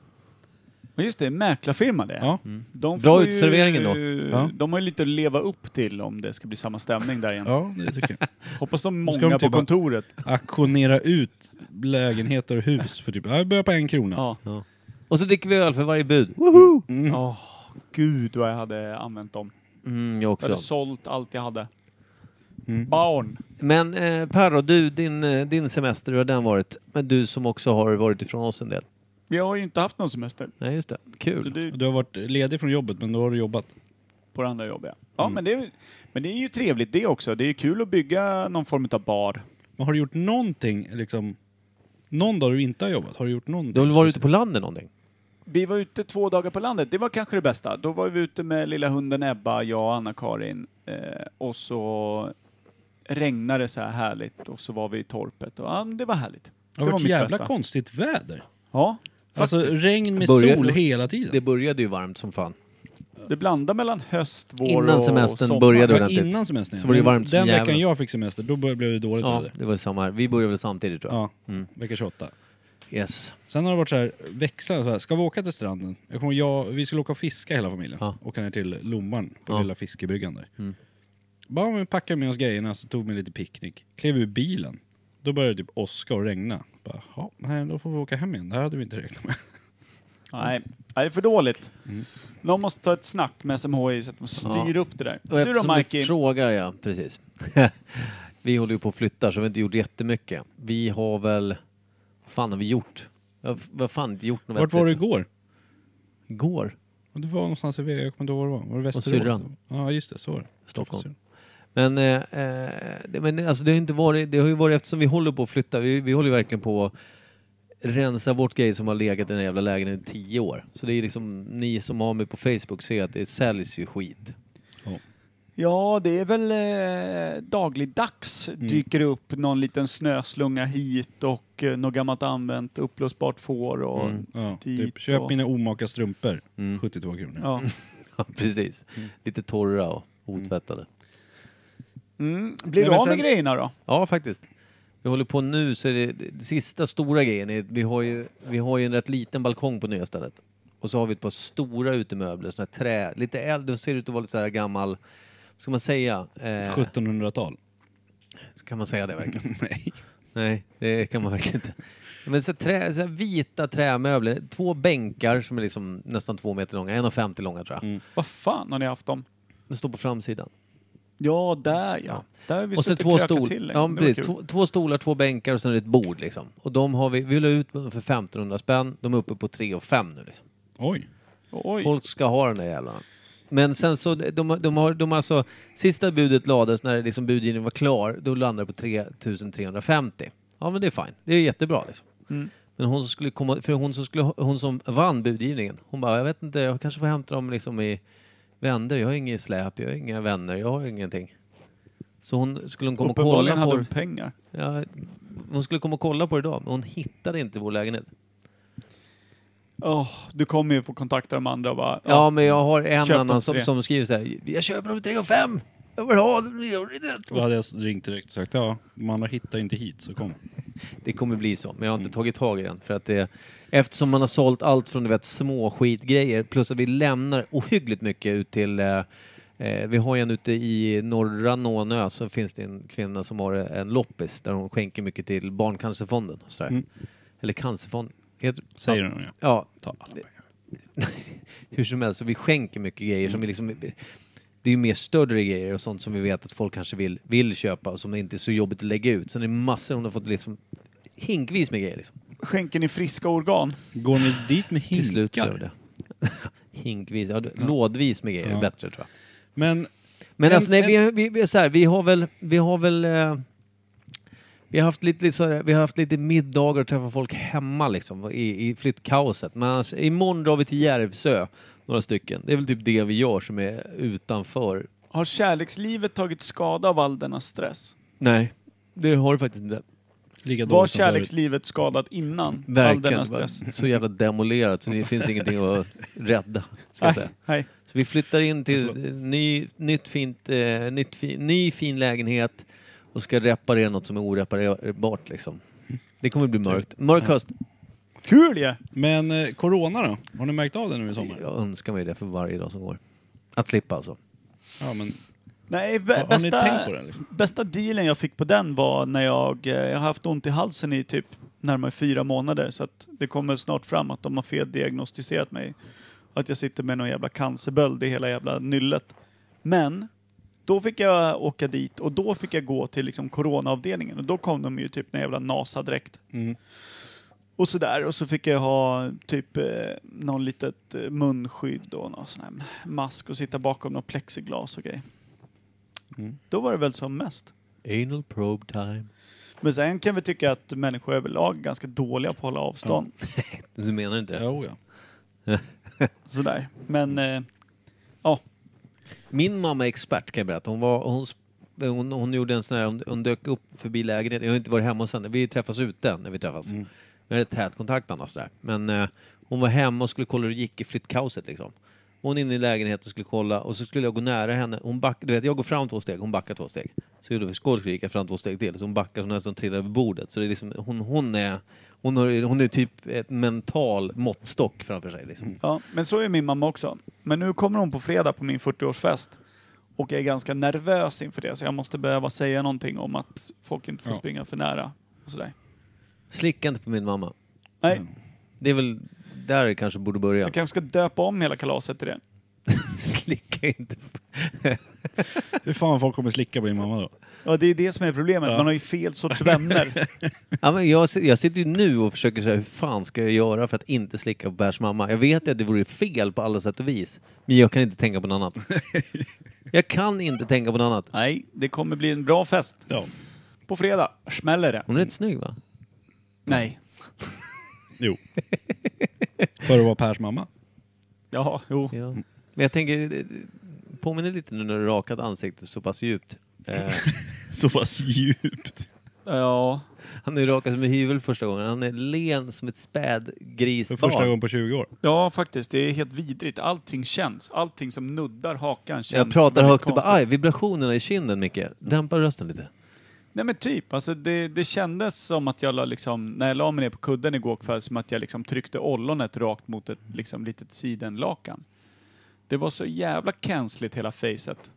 Men just det, mäklarfirma det. Ja. Mm. De Bra får ju- utserveringen då. Ja. De har ju lite att leva upp till om det ska bli samma stämning där igen. Ja, det tycker jag. Hoppas de är ska många de på typ bara- kontoret. Auktionera ut lägenheter och hus för typ, ja, jag börjar på en krona. Ja. Och så dricker vi öl för varje bud. Mm. Åh, gud vad jag hade använt dem. Mm, jag Jag också. hade sålt allt jag hade. Mm. Barn. Men eh, Per då, du, din, eh, din semester, hur har den varit? Men du som också har varit ifrån oss en del. Vi har ju inte haft någon semester. Nej, just det. Så Kul. du, Du har varit ledig från jobbet, men då har du jobbat. på det andra jobbet. Mm. Ja, ja men, det, är- men det är ju trevligt det också. Det är ju kul att bygga någon form av bar. Men har du gjort någonting, liksom, någon dag du inte har jobbat? Har du gjort någonting? Du har väl varit ute på landet någonting? Vi var ute två dagar på landet. Det var kanske det bästa. Då var vi ute med lilla hunden Ebba, jag och Anna-Karin. Eh, och så regnade det så här härligt och så var vi i torpet. Och, ja, men det var härligt. Det har var varit mitt jävla bästa. konstigt väder. Ja, Alltså regn med Börjar- sol hela tiden. Det började ju varmt som fan. det blandade mellan höst, vår Innan och semestern sommar. började. Ja, ordentligt. innan semestern. ja. Så var det Men varmt som Den jävlar. veckan jag fick semester, då började- blev det dåligt Ja, Mm. väder. det var ju samma här. Vi började väl samtidigt tror jag. Ja, vecka 28. Yes. Sen har det varit så här, växlande så här. ska vi åka till stranden? Jag kommer, ihåg, jag, vi skulle åka och fiska hela familjen. Ja. Åka ner till Lomman på Ja. Mm. lilla fiskebryggan där. Bara om vi packade med oss grejerna så tog vi lite picknick. Klev ur bilen. Då började det typ åska och regna. Bara, ja, nej, då får vi åka hem igen. Det här hade vi inte räknat med. Nej, det är för dåligt. Mm. Någon måste ta ett snack med SMHI så att de styr upp det där. Och Du då eftersom du Mikey? frågar, ja precis. vi håller ju på och flyttar så vi har inte gjort jättemycket. Vi har väl... Vad fan har vi gjort? Jag har f- vad fan inte gjort något Vart var du vettigt. igår? igår? Och det var någonstans i Vega, jag kommer inte ihåg var det var. Var det Västerås? syrran. Ja, just det. Så var det. Stockholm. Men, eh, eh, det, men alltså det, har ju inte varit, det har ju varit, eftersom vi håller på att flytta, vi, vi håller ju verkligen på att rensa bort grejer som har legat i den här jävla lägenheten i tio år. Så det är liksom, ni som har mig på Facebook ser att det säljs ju skit. Ja, det är väl eh, dagligdags Mm. dyker det upp någon liten snöslunga hit och eh, något gammalt använt upplösbart får och Ja, dit. typ, köp och, mina omaka strumpor. Mm. 72 kronor. ja. Ja, precis. Mm. Lite torra och otvättade. mm. Blir Nej, du men av med sen- grejerna då? Ja, faktiskt. Vi håller på nu så är det, det sista stora grejen är, vi har, ju, vi har ju en rätt liten balkong på nya stället. Och så har vi ett par stora utemöbler, såna här trä, lite äldre, de ser ut att vara lite så här gammal, vad ska man säga? Eh, 1700-tal. Kan man säga det verkligen? Nej. Nej, det kan man verkligen inte. Men så trä, så här vita trämöbler, två bänkar som är liksom nästan två meter långa, 1,50 långa tror jag. Vad fan har ni haft dem? De står på framsidan. Ja, där ja. Där har vi och sen suttit två, krökat stol, till länge. ja, Det var precis, kul. två, två stolar, två bänkar och sen är det ett bord. Liksom. Och de har vi, vi la ut dem för 1500 spänn, de är uppe på 3 och 5 nu. Liksom. Oj. Oj. Folk ska ha den där jävla. Men sen så, de, har- de har, de har alltså, sista budet lades när liksom budgivningen var klar, då landade det på 3350. Ja men det är fint, det är jättebra liksom. Men hon som, skulle komma, för hon, som skulle, hon som vann budgivningen, hon bara, jag vet inte, jag kanske får hämta dem liksom i vänder. jag har inget släp, jag har inga vänner, jag har ingenting. Så hon skulle hon komma och Uppenbarligen hade kolla på de pengar. Ja, hon skulle komma och kolla på det idag, men hon hittade inte vår lägenhet. Åh, du kommer ju få kontakta de andra och bara... Ja, men jag har en Köp dem annan för som, det. som skriver så här. Jag köper dem för 3 och 5 Jag vill ha dem, jag vill Då det. hade jag ringt direkt och sagt ja, man har hittat inte hit så kom. Det kommer bli så, men jag har inte tagit tag i den. För att det, eftersom man har sålt allt från du vet, små skitgrejer, plus att vi lämnar ohyggligt mycket ut till eh, eh, vi har ju en ute i norra Nånö så finns det en kvinna som har en loppis där hon skänker mycket till Barncancerfonden. Och sådär. Eller Cancerfonden. Heter- Säger hon ja. Ja, Ta alla pengar. hur som helst, så vi skänker mycket grejer som vi liksom... Det är ju mer större grejer och sånt som vi vet att folk kanske vill, vill köpa och som det inte är så jobbigt att lägga ut. Sen är det massor hon har fått liksom hinkvis med grejer liksom. Skänker ni friska organ? Går ni dit med Till slut så är hinkar? det. hinkvis, ja, lådvis med grejer är Ja. bättre tror jag. Men Men En- alltså nej, en- vi, vi, vi, är så här, vi har väl, vi har väl, eh, vi har haft lite, lite så här, vi har haft lite middagar och träffat folk hemma liksom i, i flyttkaoset. Men alltså, imorgon drar vi till Järvsö, några stycken. Det är väl typ det vi gör som är utanför. Har kärlekslivet tagit skada av all denna stress? Nej, det har du faktiskt inte. lika Var dåligt som förut. kärlekslivet skadat innan all denna Verkligen. stress? Så jävla demolerat så det finns ingenting att rädda. Ska jag säga. Nej. Så vi flyttar in till eh, ny, nytt fint, eh, nytt fi, ny fin lägenhet och ska reparera något som är oreparerbart liksom. Det kommer bli mörkt. Mörk höst. Kul ju! Men eh, corona då? Har ni märkt av det nu i sommar? Jag önskar mig det för varje dag som går. Att slippa alltså. Ja, men Nej, har, bä- har ni tänkt bästa, på det? Liksom? bästa dealen jag fick på den var när jag, eh, jag har haft ont i halsen i typ närmare fyra månader så att det kommer snart fram att de har fel diagnostiserat mig. Att jag sitter med någon jävla cancerböld i hela jävla nyllet. Men då fick jag åka dit och då fick jag gå till liksom coronaavdelningen och då kom de ju typ med jävla NASA-dräkt. Mm. Och sådär. Och så fick jag ha typ eh, någon litet eh, munskydd och någon sån här mask och sitta bakom någon plexiglas och grejer. Då var det väl som mest. Anal probe time. Men sen kan vi tycka att människor överlag är ganska dåliga på att hålla avstånd. Du menar inte det? Jo, ja. Sådär. Men eh, ja, Min mamma är expert kan jag berätta. Hon, var, hon, sp- hon, hon gjorde en sån här, hon, hon dök upp förbi lägenheten. Jag har inte varit hemma hos henne. Vi träffas ute när vi träffas. Vi hade tät kontakt annars där. Men eh, hon var hemma och skulle kolla hur det gick i flyttkaoset liksom. Hon är inne i lägenheten och skulle kolla och så skulle jag gå nära henne. Hon back, du vet, jag går fram två steg, hon backar två steg. Så gjorde vi skål så gick jag fram två steg till. Så hon backar så hon nästan trillar över bordet. Så det är liksom, hon, hon är, hon, har, hon är typ ett mental måttstock framför sig liksom. ja, men så är min mamma också. Men nu kommer hon på fredag på min 40-årsfest. Och jag är ganska nervös inför det så jag måste behöva säga någonting om att folk inte får Ja. springa för nära. Och sådär. Slicka inte på min mamma. Nej, Det är väl där det kanske borde börja. jag kanske ska döpa om hela kalaset till det. Slicka inte. Hur fan folk kommer slicka på din mamma då? Ja, det är det som är problemet. Man har ju fel sorts vänner. Ja, men jag, si- jag sitter ju nu och försöker säga hur fan ska jag göra för att inte slicka på Bärs mamma. Jag vet ju att det vore fel på alla sätt och vis. Men jag kan inte tänka på något annat. Jag kan inte tänka på något annat. Nej, det kommer bli en bra fest. Ja. På fredag smäller det. Hon är rätt snygg va? Nej. Jo. För att vara Pers mamma. Ja, jo. Ja. Men jag tänker, eh, påminner lite nu när du rakat ansiktet så pass djupt. Eh, Så pass djupt. Ja. han är ju rakad som en hyvel första gången. Han är len som ett För spädgrisbarn. första gången på 20 år. Ja, faktiskt. Det är helt vidrigt. Allting känns. Allting som nuddar hakan känns. Jag pratar väldigt högt och bara, konstigt. aj, vibrationerna i kinden Micke. Dämpa rösten lite. Nej men typ. Alltså det, det kändes som att jag la liksom, när jag la mig ner på kudden igår kväll, som att jag liksom tryckte ollonet rakt mot ett liksom litet sidenlakan. Det var så jävla känsligt hela facet.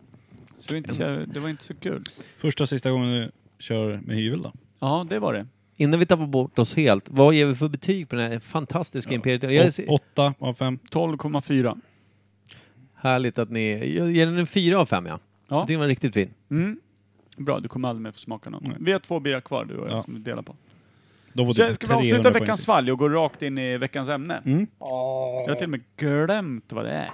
Så det, var inte så, det var inte så kul. Första och sista gången du kör med hyvel då. Ja, det var det. Innan vi tappar bort oss helt, vad ger vi för betyg på den här fantastiska imperiet? Jag är, Åt- Åtta av fem. 12,4. härligt att ni... Jag ger den en fyra av fem ja. Ja. Jag tycker den var riktigt fin. Mm. Bra, du kommer aldrig mer få smaka någon. Vi har två bira kvar du och jag Ja. som vi delar på. Då var Så det ska vi 300 avsluta poäng. veckans svalg och gå rakt in i veckans ämne? Mm. Jag har till och med glömt vad det är.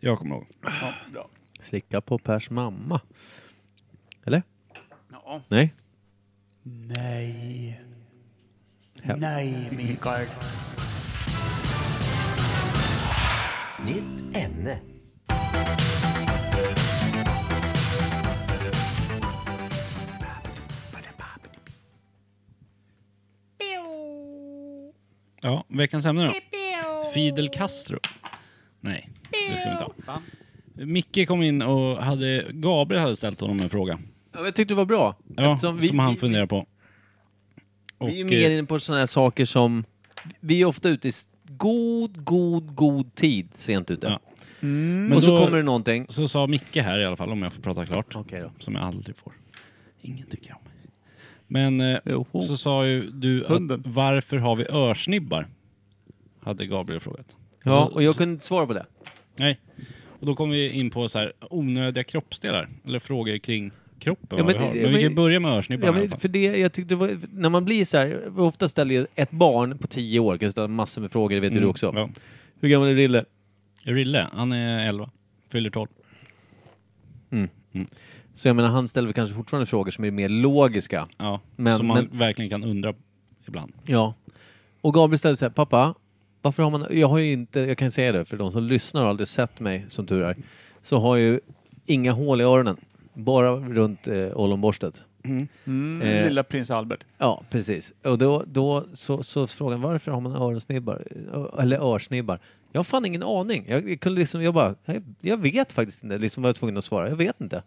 Jag kommer ihåg. Ja, bra. Slicka på Pers mamma. Eller? Ja. Nej? Nej. Ja. Nej, Mikael. Nytt ämne. Ja, veckans ämne då. Fidel Castro. Nej, det ska vi inte ha. Micke kom in och hade... Gabriel hade ställt honom en fråga. Ja, men jag tyckte det var bra. Ja, Eftersom vi, som han vi- funderar på. vi, vi är ju Och, mer eh, inne på sådana här saker som... Vi är ofta ute i s- god, god, god tid sent ute. Mm. Ja. Och men så då- kommer det någonting. Så sa Micke här i alla fall, om jag får prata klart. Okej då. Som jag aldrig får. Ingen tycker om. Men eh, Joho. så sa ju du Hunden. att varför har vi örsnibbar? Hade Gabriel frågat. Ja, och jag kunde inte svara på det. Nej. Och då kom vi in på så här onödiga kroppsdelar. Eller frågor kring kroppen. Ja, vad men vi har. det- men vi kan men- ju börja med örsnibbarna Ja, i alla men fall. för det, jag tyckte det var, när man blir så här, ofta ställer ju ett barn på tio år, kan ställa massor med frågor, det vet ju du också. Mm. Ja. Hur gammal är Rille? Rille, han är 11. Fyller 12. Så jag menar, han ställer väl kanske fortfarande frågor som är mer logiska. Ja. Men- som man men- verkligen kan undra ibland. Ja. Och Gabriel ställde så här, pappa, varför har man... Jag har ju inte, jag kan säga det för de som lyssnar och aldrig sett mig, som tur är, så har jag ju inga hål i öronen. Bara runt eh, ollonborstet. Mm, Eh. Lilla prins Albert. Ja, precis. Och då, då så, så frågan varför har man öronsnibbar? Ö- Eller örsnibbar? Jag har fan ingen aning. Jag, jag kunde liksom, jag bara, jag, jag vet faktiskt inte. Liksom var jag tvungen att svara. Jag vet inte.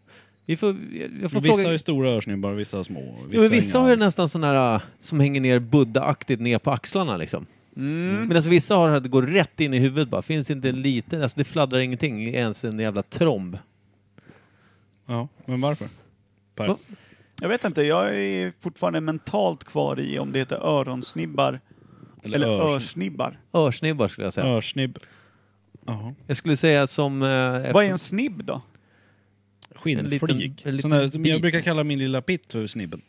Vi får, jag, jag får Vissa fråga. har ju stora örsnibbar, vissa har små. Vissa, Jo, men vissa inga har ju alls. nästan sådana här äh, som hänger ner buddha-aktigt ner på axlarna liksom. Mm. Medan vissa har att det går rätt in i huvudet bara. Finns inte en liten, alltså det fladdrar ingenting, ens en jävla tromb. Ja, men varför? Per. Va? Jag vet inte, jag är fortfarande mentalt kvar i om det heter öronsnibbar eller, örs- örsnibbar. Örsnibbar skulle jag säga. Örsnibb. Jaha. Jag skulle säga som... eh, Vad är eftersom- en snibb då? Skinnflik. En liten- en liten Sån där, som jag bit. brukar kalla min lilla pitt för snibben.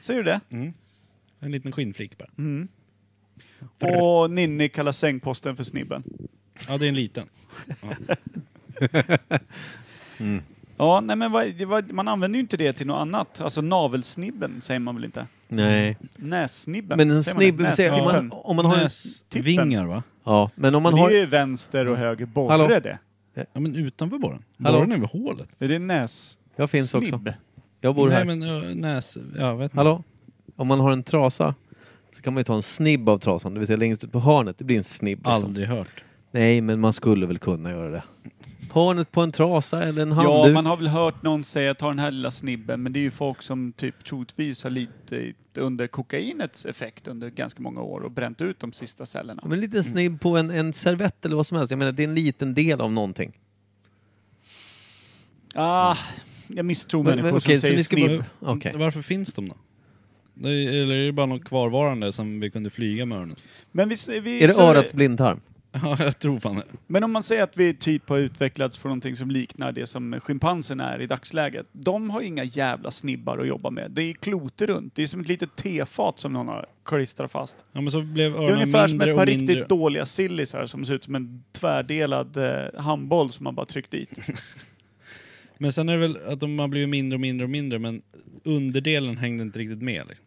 Säger du det? Mm. En liten skinnflik bara. Och Ninni kallar sängposten för snibben. Ja, det är en liten. Ja, nej men vad, det var- man använder ju inte det till något annat. Alltså navelsnibben säger man väl inte? Nej. Nässnibben? Men en säger man det? snibb, säger- om man, Nästippen. om man har en... Näsvingar va? Ja, men om man Men har... Det är ju vänster och höger borre Hallå? det. Ja, men utanför borren. Hallå? Borren är väl hålet? Är det näs... Jag finns också. snibb? Jag bor Nej, här. men ö, näs... Ja, vet inte. Hallå? Om man har en trasa så kan man ju ta en snibb av trasan, det vill säga längst ut på hörnet. Det blir en snibb. liksom. Aldrig hört. Nej, men man skulle väl kunna göra det. Hörnet på en trasa eller en Ja, handduk. man har väl hört någon säga ta den här lilla snibben, men det är ju folk som typ troligtvis har lite under kokainets effekt under ganska många år och bränt ut de sista cellerna. Men en liten snibb på en, en servett eller vad som helst. Jag menar, det är en liten del av någonting. Ah, jag misstror Men- människor men okej, som så säger ni ska snibb. bara- Okej. Varför finns de då? Det är, eller är det bara något kvarvarande som vi kunde flyga med öronen? Men vi, vi, Är det så- örats blindtarm? Ja, jag tror fan det. Men om man säger att vi typ har utvecklats från någonting som liknar det som schimpansen är i dagsläget. De har ju inga jävla snibbar att jobba med. Det är kloter runt. Det är som ett litet tefat som någon har klistrat fast. Ja, men så blev Det är ungefär öronen som ett mindre par och riktigt mindre. dåliga sillisar som ser ut som en tvärdelad eh, handboll som man bara tryckt dit. Men sen är det väl att de har blivit mindre och mindre och mindre, men underdelen hängde inte riktigt med. Liksom.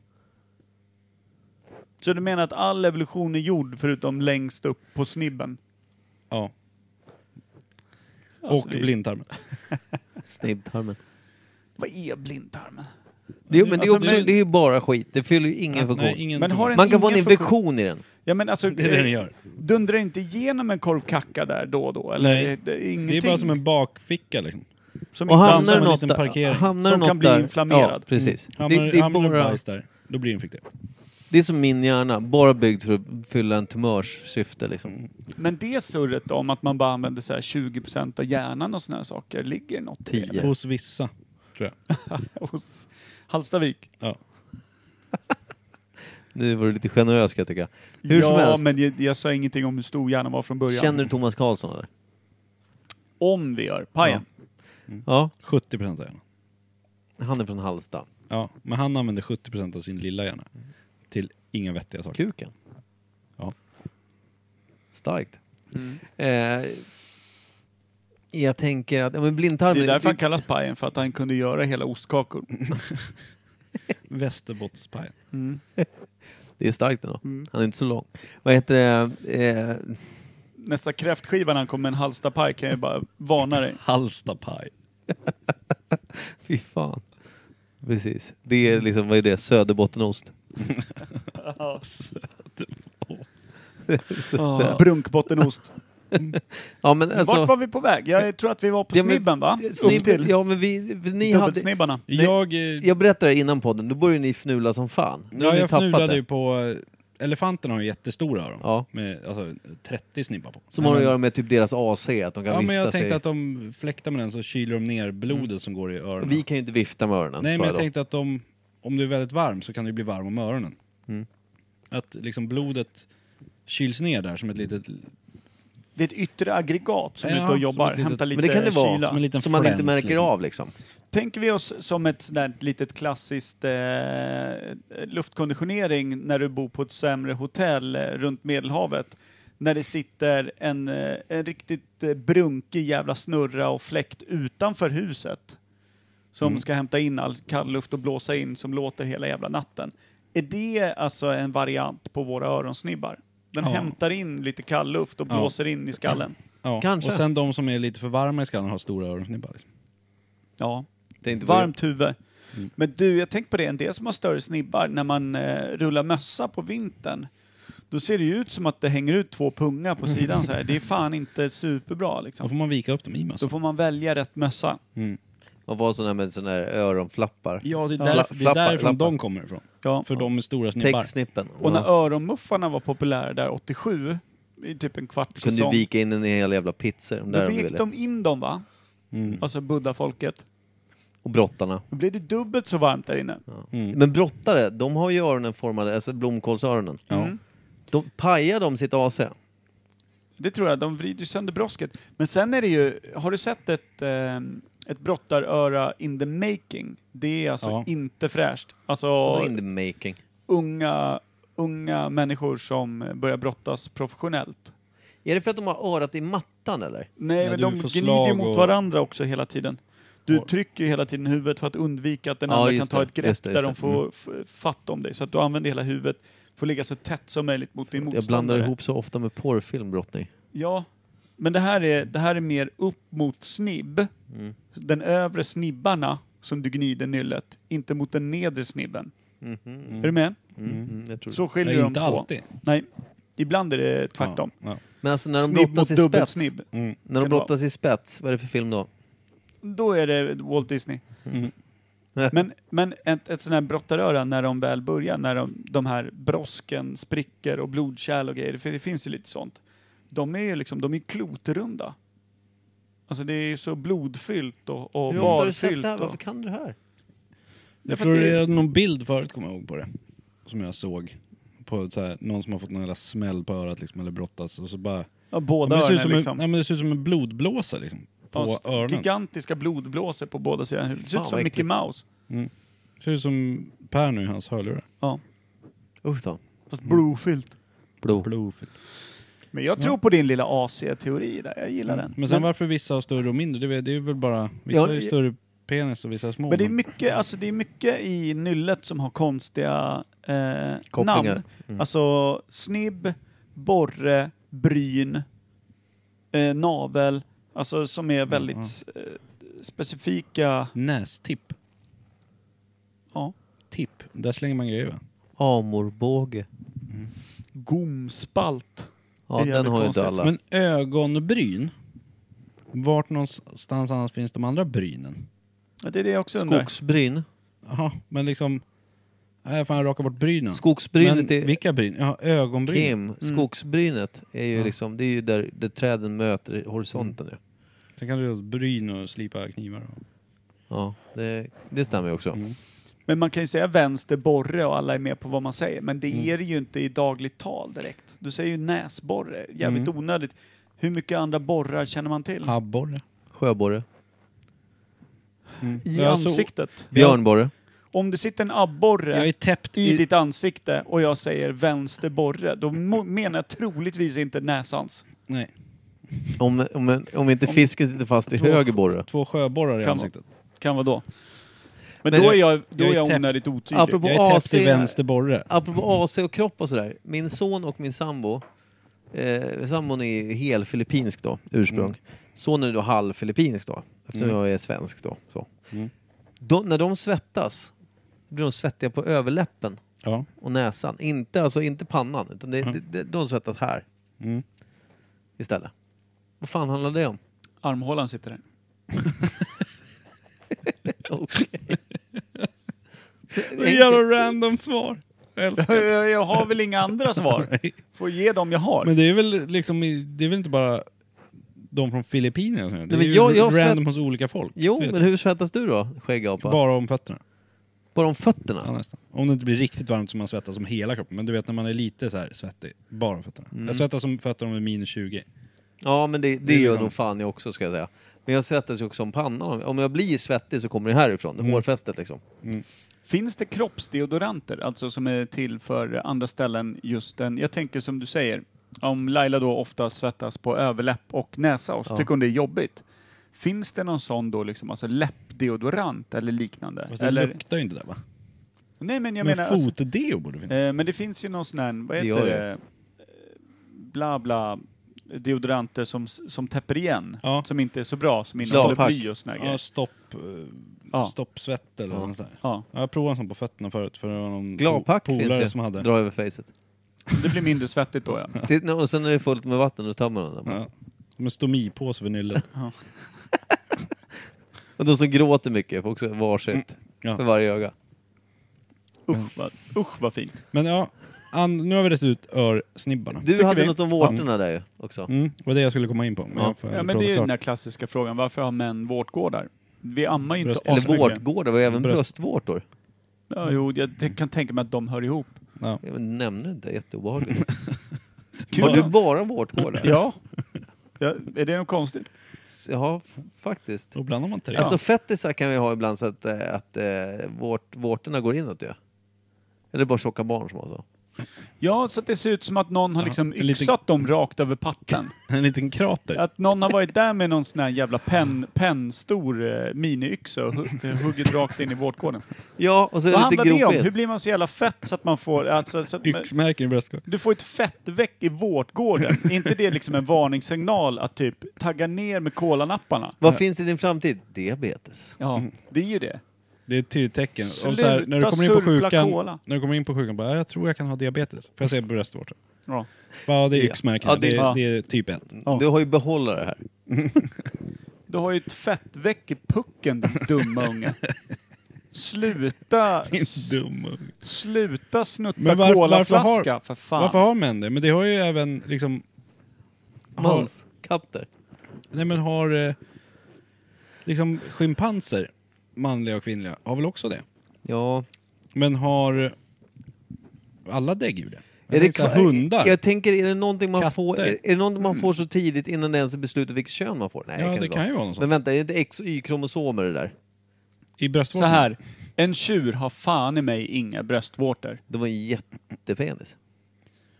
Så du menar att all evolution är gjord förutom längst upp på snibben? Ja. Alltså, och det- blindtarmen. Snibbtarmen. Vad är blindtarmen? Det, är- men det är, Alltså, också, men- det är ju bara skit. Det fyller ju ingen Ja, funktion. nej, ingen Men har den Man kan få en ingen infektion i den. Ja men alltså, Det är det den gör. dundrar inte igenom en korv kacka där då och då? Eller? Nej. Det, det är Det ingenting är bara som en bakficka liksom. som Och inte hamnar alls hamnar som det en något liten där, parkering hamnar det som något kan bli där, inflammerad. Mm. Ja, precis. Hamnar Det, det är hamnar bara, bajs där, då blir det infekterat. det är som min hjärna, bara byggd för att fylla en tumörs syfte liksom. Men det surret då, om att man bara använder så här 20% av hjärnan och såna här saker, ligger något i det? 10. Hos vissa, tror jag. hos Halstavik? Ja. Nu var du lite generös kan jag tycka. Hur ja, som helst. men jag, jag sa ingenting om hur stor hjärnan var från början. Känner du Thomas Karlsson eller? Om vi gör pajen. Mm. Ja, 70 procent av hjärnan. han är från Halsta. Ja, men han använder 70 procent av sin lilla hjärna. Till inga vettiga saker. Kuken. Ja. Starkt. Mm. Eh, jag tänker att, ja men blindtarmen... Det är därför han kallas pajen, för att han kunde göra hela ostkakor. Västerbottspajen. Det är starkt ändå. Mm. Mm. Han är inte så lång. Vad heter det? Eh, Nästa kräftskiva när han kommer med en halstapaj kan jag bara varna dig. Halstapaj. fy fan. Precis. Det är liksom, vad är det? Söderbottenost. Så att säga. Brunkbottenost. Ja men alltså... Vart var vi på väg? Jag tror att vi var på Ja, men- snibben va? Upp Snibb- till Ja men vi, vi- ni hade... dubbelsnibbarna. Jag, eh, Jag berättade det innan podden, då började ni fnula som fan. Nu har Ja, ni jag tappat fnulade det. ju på... eh, Elefanterna har ju jättestora av dem. Ja. Med alltså, 30 snibbar på. Som har att Men- göra med typ deras AC, att de kan Ja, vifta men jag sig. tänkte att de fläktar med den så kyler de ner blodet som går i öronen. Vi kan ju inte vifta med öronen, Nej, sa men jag då. tänkte att de, om du är väldigt varm så kan du bli varm om öronen. Mm. Att liksom blodet kyls ner där som ett litet... Det är ett yttre aggregat som Ja, är ute och som jobbar, ett litet- hämtar lite Men det kan det kyla. vara, som en liten som man inte fläns, märker liksom. av liksom. Tänker vi oss som ett sådant litet klassiskt eh, luftkonditionering när du bor på ett sämre hotell eh, runt Medelhavet. När det sitter en, eh, en riktigt eh, brunkig jävla snurra och fläkt utanför huset. Som Mm. ska hämta in all kall luft och blåsa in som låter hela jävla natten. Är det alltså en variant på våra öronsnibbar? Den Ja. hämtar in lite kall luft och Ja. blåser in i skallen. Ja. Kanske. Och sen de som är lite för varma i skallen har stora öronsnibbar. Liksom. Ja. Det Mm. är inte varmt. Varmt huvud. Men du, jag tänkte på det, en del som har större snibbar, när man eh, rullar mössa på vintern, då ser det ju ut som att det hänger ut två pungar på sidan så här. Det är fan inte superbra Då liksom. får man vika upp dem i mössan. Då får man välja rätt mössa. Man får ha sådana med sådana här öronflappar. Ja, det är, Fla- där, det är flappar, därifrån flappar. de kommer ifrån. Ja. För de är stora snibbar. Täcksnippen. Och när Ja. öronmuffarna var populära där 87, i typ en kvart Kunde ju säsong, vika in en hel jävla pizza om då där de vek ville. de in dem va? Mm. Alltså buddha-folket. Och brottarna. Då blev det dubbelt så varmt där inne. Men brottare, de har ju öronen formade, alltså blomkålsöronen. Mm. Ja. De, pajar de sitt AC? Det tror jag, de vrider ju sönder brosket. Men sen är det ju, har du sett ett, eh, ett brottaröra in the making? Det är alltså Ja. inte fräscht. Alltså Och in the making. unga, unga människor som börjar brottas professionellt. Är det för att de har örat i mattan eller? Nej, Ja, men du de får gnider ju slag mot och- varandra också hela tiden. Du Och- trycker ju hela tiden huvudet för att undvika att den Ja, andra kan just ta det. ett grepp Just det, just där det. Mm. de får f- fatt om dig. Så att du använder hela huvudet för att ligga så tätt som möjligt mot din Jag motståndare. blandar ihop så ofta med porrfilm, brottning. Ja, men det här är, det här är mer upp mot snibb. Mm. Den övre snibbarna som du gnider nyllet, inte mot den nedre snibben. Mm-hmm. Är du med? Mm, jag tror det. Så skiljer Nej, de inte två. alltid. Nej, ibland är det tvärtom. Ja. Mm. Ja. Men alltså när de Snibb mot brottas i spets, dubbelsnibb. när de kan det vara. brottas i spets, vad är det för film då? Då är det Walt Disney. Mm. Men, men ett, ett sånt här brottaröra när de väl börjar, när de, de här brosken, sprickor och blodkärl och grejer, för det finns ju lite sånt. De är ju liksom, de är klotrunda. Alltså det är ju så blodfyllt och, och Hur ofta har du sett barfyllt det här? och- Varför kan du det här? Därför Jag att tror det- det är någon bild förut, kommer jag ihåg, på det. Som jag såg. På så här, någon som har fått någon jävla smäll på örat liksom, eller brottats. Och så bara Ja, båda Ja, men det ser ut öronen som en, liksom. ja, men det ser ut som en blodblåsa liksom. På Ja, öronen. gigantiska blodblåsor på båda sidorna. Det ser Fan, ut vad som Mickey äckligt. Mouse. Mm. Ser ut som Per nu i hans hörlurar. Ja. Usch då. Fast blodfyllt. Blå. Men jag tror på din lilla AC-teori där. Jag gillar den. Mm. Men sen varför vissa har större och mindre, det är, det är väl bara... Vissa Ja, har ju det- större penis och vissa har små. Men det är mycket, alltså det är mycket i nyllet som har konstiga eh, Kopplingar. namn. Mm. Alltså snibb, borre, bryn, eh, navel. Alltså som är Mm, väldigt eh, specifika. Nästipp. Ja. Tipp. Där slänger man grejer va? Amorbåge. Gomspalt. Ja, Det är den jävligt har ju konstigt. inte alla. Men ögonbryn? Vart någonstans annars finns de andra brynen? Ja, det är det jag också undrar. Skogsbryn. Jaha, men liksom... Nej, fan jag rakar bort brynen. Skogsbrynet men, är- Vilka bryn? Ja, ögonbryn. Kim, Mm. skogsbrynet är ju liksom, det är ju där, där träden möter horisonten ju. Sen kan du göra bryn och slipa knivar. Ja, det, det stämmer ju också. Men man kan ju säga vänster borre och alla är med på vad man säger. Men Mm. det är det ju inte i dagligt tal direkt. Du säger ju näsborre. Jävligt Mm. onödigt. Hur mycket andra borrar känner man till? Abborre. Sjöborre. I Ja, så- ansiktet. Björnborre. Om det sitter en abborre Jag är täppt i i- ditt ansikte och jag säger vänster borre, då mo- menar jag troligtvis inte näsans. Nej. Om, om, om inte fisken sitter fast i höger borre. Två sjöborrar i Kan ansiktet. Kan vara då. Men, Men då är jag- jag, då jag är är jag täppt. onödigt otydlig. Apropå jag är täppt AC, i vänster. borre. Apropå AC och kropp och sådär. Min son och min sambo, eh, sambon är hel filippinsk då, ursprung. Mm. Sonen är då halv filippinsk då, eftersom Mm. jag är svensk då. Så. Mm. De, när de svettas, blir de svettiga på överläppen Ja. och näsan. Inte, alltså, inte pannan, utan det, det, det, de svettas här Mm. istället. Vad fan handlar det om? Armhålan sitter där. Det är jävla random svar. Jag älskar det. Jag, jag har väl inga andra svar. Får ge dem jag har. Men det är väl liksom, i- det är väl inte bara de från Filippinerna som gör det? Nej, Det är men ju jag- jag har random sett- hos olika folk. Jo, Det vet men hur svettas du då, skäggapa? jag. Bara om fötterna. Bara om fötterna? Ja, nästan. Om det inte blir riktigt varmt så man svettas som hela kroppen. Men du vet när man är lite så här svettig, bara om fötterna. Mm. Jag svettas som fötterna om det är minus 20. Ja, men det, det, Det är gör liksom- nog fan jag också ska jag säga. Men jag svettas ju också om pannan. Om jag blir svettig så kommer det härifrån, Mm. hårfästet liksom. Finns det kroppsdeodoranter, alltså som är till för andra ställen just den, jag tänker som du säger, om Laila då ofta svettas på överläpp och näsa och så Ja. tycker hon det är jobbigt. Finns det någon sån då liksom, alltså läppdeodorant eller liknande? Fast det eller, luktar ju inte där va? nej men jag men menar... alltså- fotdeo borde finnas. Eh, men det finns ju någon sån här, vad Det heter gör det? det. Eh, Bla bla deodoranter som, som täpper igen. Ja. Som inte är så bra, som innehåller Slapack. bly och såna här Ja, grejer. stopp, eh, Ja. stoppsvett eller Ja. något sånt där. Ja. Ja, jag provade en sån på fötterna förut för det var någon Gladpack po- finns ju. polare som hade. Dra över facet. Det blir mindre svettigt då ja. Titt- nej, Och sen är det fullt med vatten, då tar man den. där. Ja. Som en stomipåse för nyllet. Och de som gråter mycket får också varsitt Mm. Ja. för varje öga. Usch vad, usch, vad fint. Men ja, an, nu har vi rätt ut örsnibbarna. Du Tycker hade vi. något om vårtorna där ju också. Mm, det var det jag skulle komma in på. Men Ja. jag får Ja, men prata det är ju klart. den här klassiska frågan, varför har män vårtgårdar? Vi ammar ju inte Bröst- Eller asmycket. vårtgårdar, var även Bröst. bröstvårtor. Ja, jo, jag t- kan tänka mig att de hör ihop. ja. Jag nämner inte, jätteobehagligt. Kul. Var du bara vårtgårdar? Ja. ja. Är det något konstigt? Ja, f- faktiskt. Då blandar man tre. Alltså fettisar kan vi ha ibland så att, eh, att eh, vårt, vårtorna går inåt ju. Eller är det bara tjocka barn som har så? Ja, så att det ser ut som att någon har Ja, liksom en liten- yxat dem rakt över patten. En liten krater. Att någon har varit där med någon sån här jävla penn, pennstor eh, miniyxa och hu- eh, huggit rakt in i vårtgården. Ja, och så är Vad det handlar lite det om? gropigt. Hur blir man så jävla fett så att man får... Alltså, så att, man- Yxmärken i bröstkorgen. du får ett fettveck i vårtgården. är inte det liksom en varningssignal att typ tagga ner med kolanapparna? Vad finns i din framtid? Diabetes. Ja, Mm. det är ju det. Det är ett tydligt tecken. Om så här, Sluta när du kommer in på surpla sjukan, cola. när du kommer in på sjukan bara, jag tror jag kan ha diabetes. Får jag se bröstvårtor? Ja. Bara, Ja, det är yxmärken. Ja, det, det- är- ja. det är typ 1. Ja. Du har ju behållare här. Du har ju ett fettveck i pucken, din dumma unge. Sluta, Dum. sluta snutta Men varför- varför kolaflaska, har- för fan. Varför har män det? Men det har ju även liksom... Har, Manskatter. nej men har... eh, Liksom schimpanser, manliga och kvinnliga, har väl också det? Ja. Men har alla däggdjur det? Är det tänkte kvar- hundar. Jag tänker, är det någonting man Katter. Mm. får, är, är det någonting man får så tidigt innan det ens är beslutat vilket kön man får? Nej, Ja, det inte kan ju vara något sånt. Men vänta, är det inte X och Y-kromosomer det där? I Så bröstvårtan? här, en tjur har fan i mig inga bröstvårtor. Det var en jättepenis.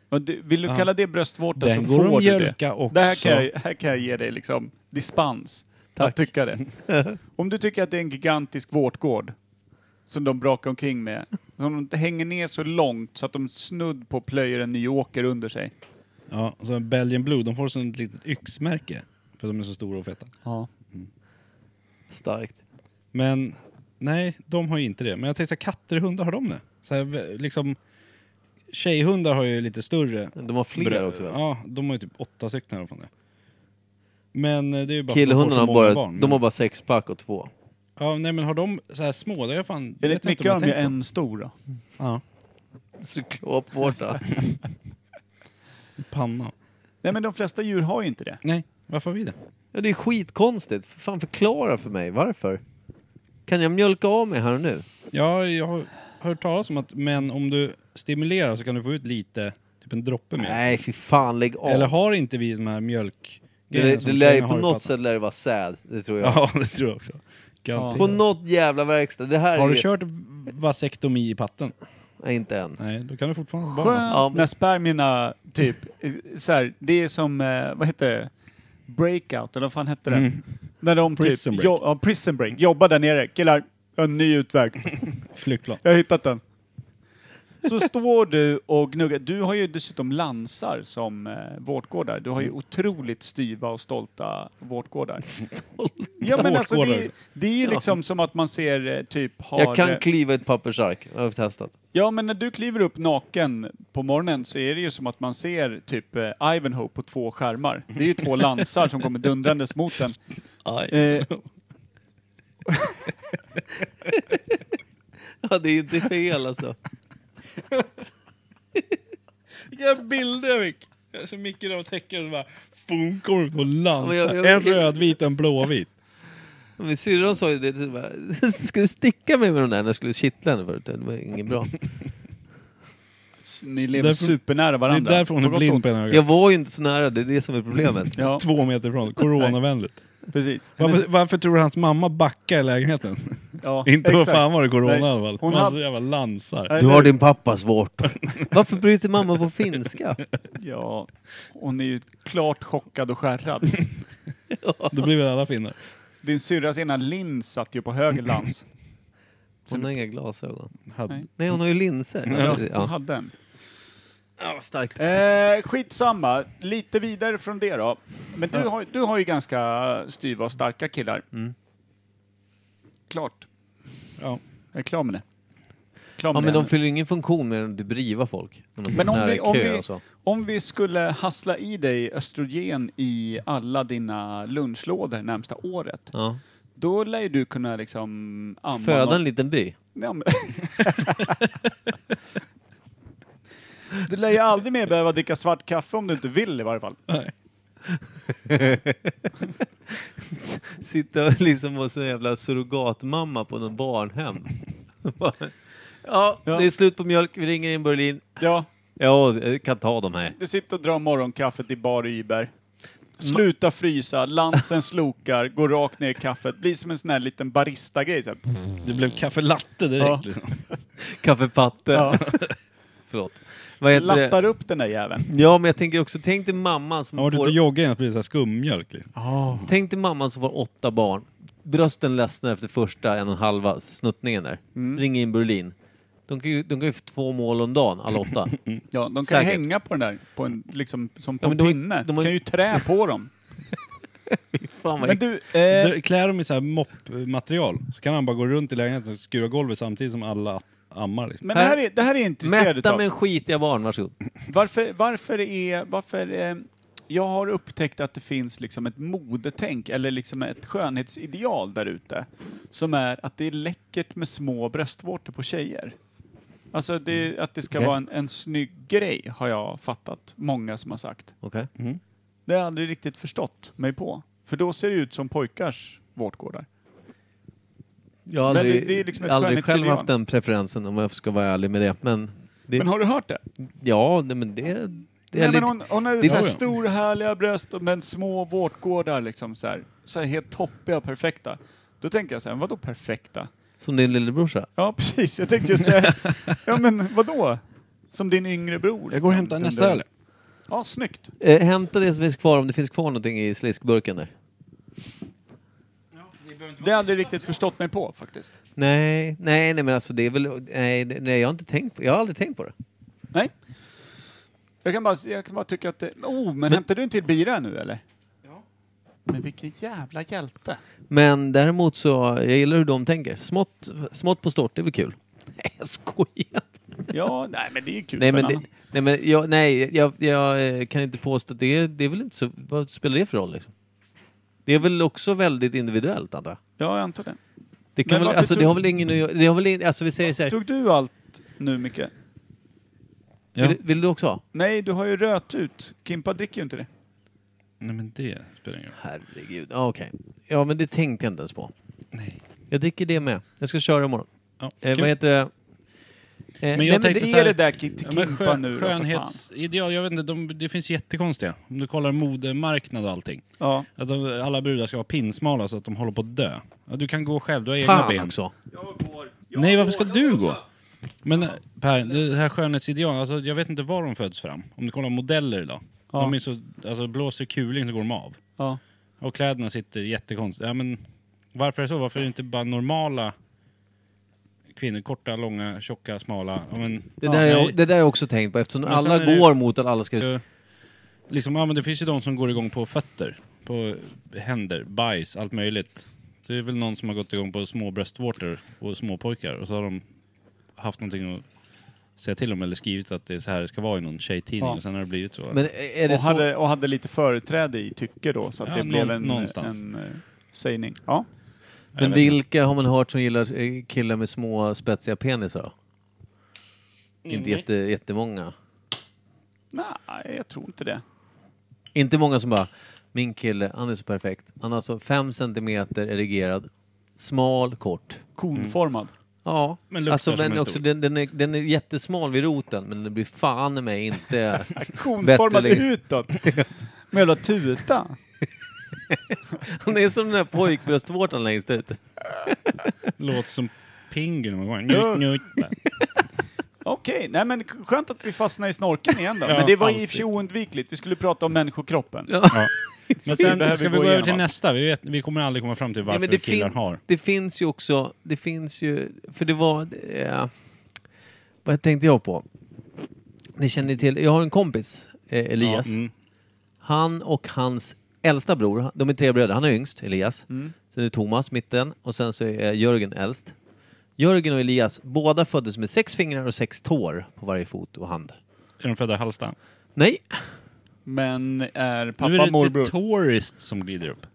Och du, vill du Ja. kalla det bröstvårta Den så går att får du det. mjölka också. det här, kan jag, här kan jag ge dig liksom dispens. Att tycka det. Om du tycker att det är en gigantisk vårtgård som de brakar omkring med. Som de hänger ner så långt så att de snudd på plöjer en ny åker under sig. Ja, och så Belgian Blue, de får sånt litet yxmärke. För att de är så stora och feta. Ja. Starkt. Men nej, de har ju inte det. Men jag tänkte så här, katter och hundar, har de det? Så här, v- liksom, tjejhundar har ju lite större. De har fler brö- också. Ja, de har ju typ åtta stycken i alla fall. det. Men eh, det är ju bara för att de får Killhundarna så har många bara, barn. de har bara sex pack och två. Ja, nej men har de så här små, det har jag fan... vet Enligt inte mycket om har de ju jag tänkt på. en stor då. Ja, Cyklopvårta. panna. Nej men de flesta djur har ju inte det. Nej, varför har vi det? ja, det är skitkonstigt. För fan förklara för mig varför. Kan jag mjölka av mig här och nu? Ja, jag har hört talas om att män, om du stimulerar så kan du få ut lite, typ en droppe mer. Nej, fy fan lägg av. Eller har inte vi de här mjölk... det det lär ju på något sätt lär det vara säd, det tror jag. Ja, det tror jag också. Garanterat. På något jävla verkstad. Det här Har är du ju- kört vasektomi i patten? Nej, inte än. Nej, då kan du fortfarande ha barn. Skönt Ja, men- när spermierna typ, eh, så här, det är som, eh, vad heter det? Breakout, eller vad fan hette det? Mm. När de Prison typ, break. jo- ja, prison break, jobbar där nere. Killar, jag har en ny utväg. Flygplan. Jag har hittat den. Så står du och gnuggar. Du har ju dessutom lansar som eh, vårtgårdar. Du har Mm. ju otroligt styva och stolta vårtgårdar. Ja men alltså det, är- Vårtgårdar. det är ju liksom som att man ser eh, typ har... Jag eh, kan klyva ett pappersark, jag har testat. Ja, men när du kliver upp naken på morgonen så är det ju som att man ser typ eh, Ivanhoe på två skärmar. Det är ju två lansar som kommer dundrandes mot den. Eh, Ja, det är inte fel alltså. Vilka bilder jag fick! Så Micke där och täcker och bara... Boom, kommer ut och lansar. Ja, men jag- jag- en rödvit, en blåvit. Min syrra sa ju det till mig. Ska du sticka mig med den där när jag skulle kittla henne förut? Det var inget bra. s- ni lever Därför- supernära Det är varandra. därför hon På är gott och blind ont. på ena ögat. Jag var ju inte så nära, det är det som är problemet. Ja, Två meter från. Coronavänligt. precis. Varför, varför tror du hans mamma backar i lägenheten? Ja, Inte vad exakt. fan var det corona Nej, i alla fall. hon Hon Massa hade- jävla lansar. Nej, Du det- har din pappas vårta. Varför bryter mamma på finska? Ja, hon är ju klart chockad och skärrad. Då blir väl alla finnar. Din syrras ena lins satt ju på höger lans. Hon har inga glasögon. Hade- Nej, hon har ju linser. Ja, Ja, hon hade en. Ja, vad starkt. Eh, skitsamma, lite vidare från det då. Men du har, du har ju ganska styva och starka killar. Mm. Klart. Ja. Jag är klar med det. Klar Ja, med men det. de fyller ingen funktion mer än att driva folk. När de Men står om nära vi- om kö vi- och så. Om vi skulle hassla i dig östrogen i alla dina lunchlådor närmsta året, Ja. då lär ju du kunna liksom... amma Föda någon- en liten by. Ja, men- Du lär ju aldrig mer behöva dricka svart kaffe om du inte vill i varje fall. Sitta och liksom vara sån jävla surrogatmamma på någon barnhem. ja, det är slut på mjölk. Vi ringer in Berlin. Ja, Ja, jag kan ta dem här. Du sitter och drar morgonkaffet i bar Uber. Sluta frysa, lansen slokar, går rakt ner i kaffet. Blir som en sån här liten barista-grej. Så här. Det blev kaffe latte Ja. direkt. Liksom. Kaffepatte. Ja. Förlåt. Vad heter det? Lattar upp den där jäveln. Ja, men jag tänker också, tänk dig mamman som, Ja, Har du inte får, joggat innan så blir det så här skummjölk. Liksom. tänk dig mamman som får åtta barn. Brösten ledsnar efter första en och en halva snuttningen där. Ring in Berlin. De kan, ju, de kan ju få två mål om dagen, alla åtta. Ja, de kan Säkert. hänga på den där, på en, liksom, som på Ja, en men de har- pinne. de har- kan ju trä på dem. Fan vad Men du, eh, Dra- Klär dem i så här moppmaterial så kan han bara gå runt i lägenheten och skura golvet samtidigt som alla ammar. Liksom. men det här är, det här är jag intresserad Mätta utav. med skitiga barn, varsågod. Varför, varför är... Varför, eh, jag har upptäckt att det finns liksom ett modetänk, eller liksom ett skönhetsideal där ute. Som är att det är läckert med små bröstvårtor på tjejer. Alltså det, att det ska Okej. vara en, en snygg grej, har jag fattat. Många som har sagt. Okej. Det har jag aldrig riktigt förstått mig på. För då ser det ut som pojkars vårtgårdar. Jag har Men det- aldrig, det är liksom ett aldrig själv skönhetsideal. haft den preferensen om jag ska vara ärlig med det. Men Det- Men har du hört det? Ja, nej, men det... det är Nej, lite... men hon, hon det hade är- så här stor härliga bröst och- men små vårtgårdar liksom så här. Så här helt toppiga, perfekta. Då tänker jag så här, vadå perfekta? Som din lillebrorsa? Ja precis, jag tänkte ju säga, ja men vadå? Som din yngre bror. Jag går och liksom. hämtar Den nästa där- öl. Ja, snyggt. Eh, hämta det som finns kvar, om det finns kvar någonting i sliskburken där. Det har jag aldrig riktigt förstått mig på faktiskt. Nej, nej, nej men alltså det är väl... Nej, det- nej jag, har inte tänkt på, jag har aldrig tänkt på det. Nej. Jag kan bara, jag kan bara tycka att det... Oh, men, hämtar du en till bira nu eller? Ja. Men vilken jävla hjälte. Men däremot så, jag gillar hur de tänker. Smått, smått på stort, det är väl kul? Nej, jag skojar. Ja, nej men det är ju kul Nej, för men, en det, annan. nej, men jag, nej, jag, jag eh, kan inte påstå att det är, det är väl inte så... Vad spelar det för roll liksom? Det är väl också väldigt individuellt antar jag? Ja, jag antar det. Det, Men kan väl, varför alltså, tog- det har väl ingen att göra- det har väl in, alltså vi säger så här, Tog du allt nu Micke? Ja. vill, vill du också ha? Nej, du har ju röt ut. Kimpa dricker ju inte det. Nej men det spelar ingen roll. Herregud, ja, okej. Ja men det tänkte jag inte ens på. Jag dricker det med. Jag ska köra imorgon. Ja, Eh, kul. vad heter det? Eh, jag nej, men tänkte det- så här- Ge det där ki- till Ja, men Kimpa skön- nu då, för Skönhetsideal, jag vet inte, de, det finns jättekonstiga. Om du kollar modemarknad och allting. Ja. Att de, alla brudar ska vara pinsmala så att de håller på att dö. Ja, du kan gå själv, du har egna Fan ben. också. Nej, varför ska du gå? Men eh, Per, det här skönhetsideal, alltså, jag vet inte var de föds fram. Om du kollar modeller idag. Ja. De är så, alltså, blåser kuling så går de av. Ja. Och kläderna sitter jättekonstigt. Ja, men, varför är det så? Varför är det inte bara normala kvinnor? Korta, långa, tjocka, smala. Ja, men, Det där, ja, är, nej. det där är jag också tänkt på eftersom Men sen alla är det- går mot att alla ska... Eh, Liksom, ja, men det finns ju de som går igång på fötter, på händer, bajs, allt möjligt. Det är väl någon som har gått igång på små bröstvårtor och små pojkar och så har de haft någonting att säga till om eller skrivit att det är så här det ska vara i någon tjejtidning Ja. och sen har det blivit så. Men är det Och så... hade, och hade lite företräde i tycke då, så att Ja, det blev någon- en, någonstans. en eh, sägning. Ja. Men vilka har man hört som gillar eh, killar med små spetsiga penisar då? Mm, Inte jätte, jättemånga. Nej, jag tror inte det. Inte många som bara, min kille, han är så perfekt. Han är alltså fem centimeter erigerad, smal, kort. Konformad. Ja, Men men, luktar alltså, som men en också stol. den, den, är, den är jättesmal vid roten men den blir fan i mig inte... Konformad Bättre längre. utåt. Med jävla tuta. Han är som den där pojkbröstvårtan längst ut. Låter som Pingu när man går. Ja. Njut, njut. Okej, nej men skönt att vi fastnade i snorken igen då. Men det var i och för sig oundvikligt. Vi skulle prata om människokroppen. Men Det behöver sen ska vi vi gå gå över till igenom, va? nästa. Vi, vet, vi kommer aldrig komma fram till varför Nej, men killar fin- har. Det finns ju också, det finns ju, för det var, eh, vad tänkte jag på? Ni känner ju till, jag har en kompis, eh, Elias. Ja, mm. Han och hans äldsta bror, de är tre bröder, han är yngst, Elias. Mm. Sen är det Thomas, mitten, och sen så är Jörgen äldst. Jörgen och Elias, båda föddes med sex fingrar och sex tår på varje fot och hand. Är de födda i Halsta? Nej, Men är nu är pappa det morbror... The Tourist som glider upp.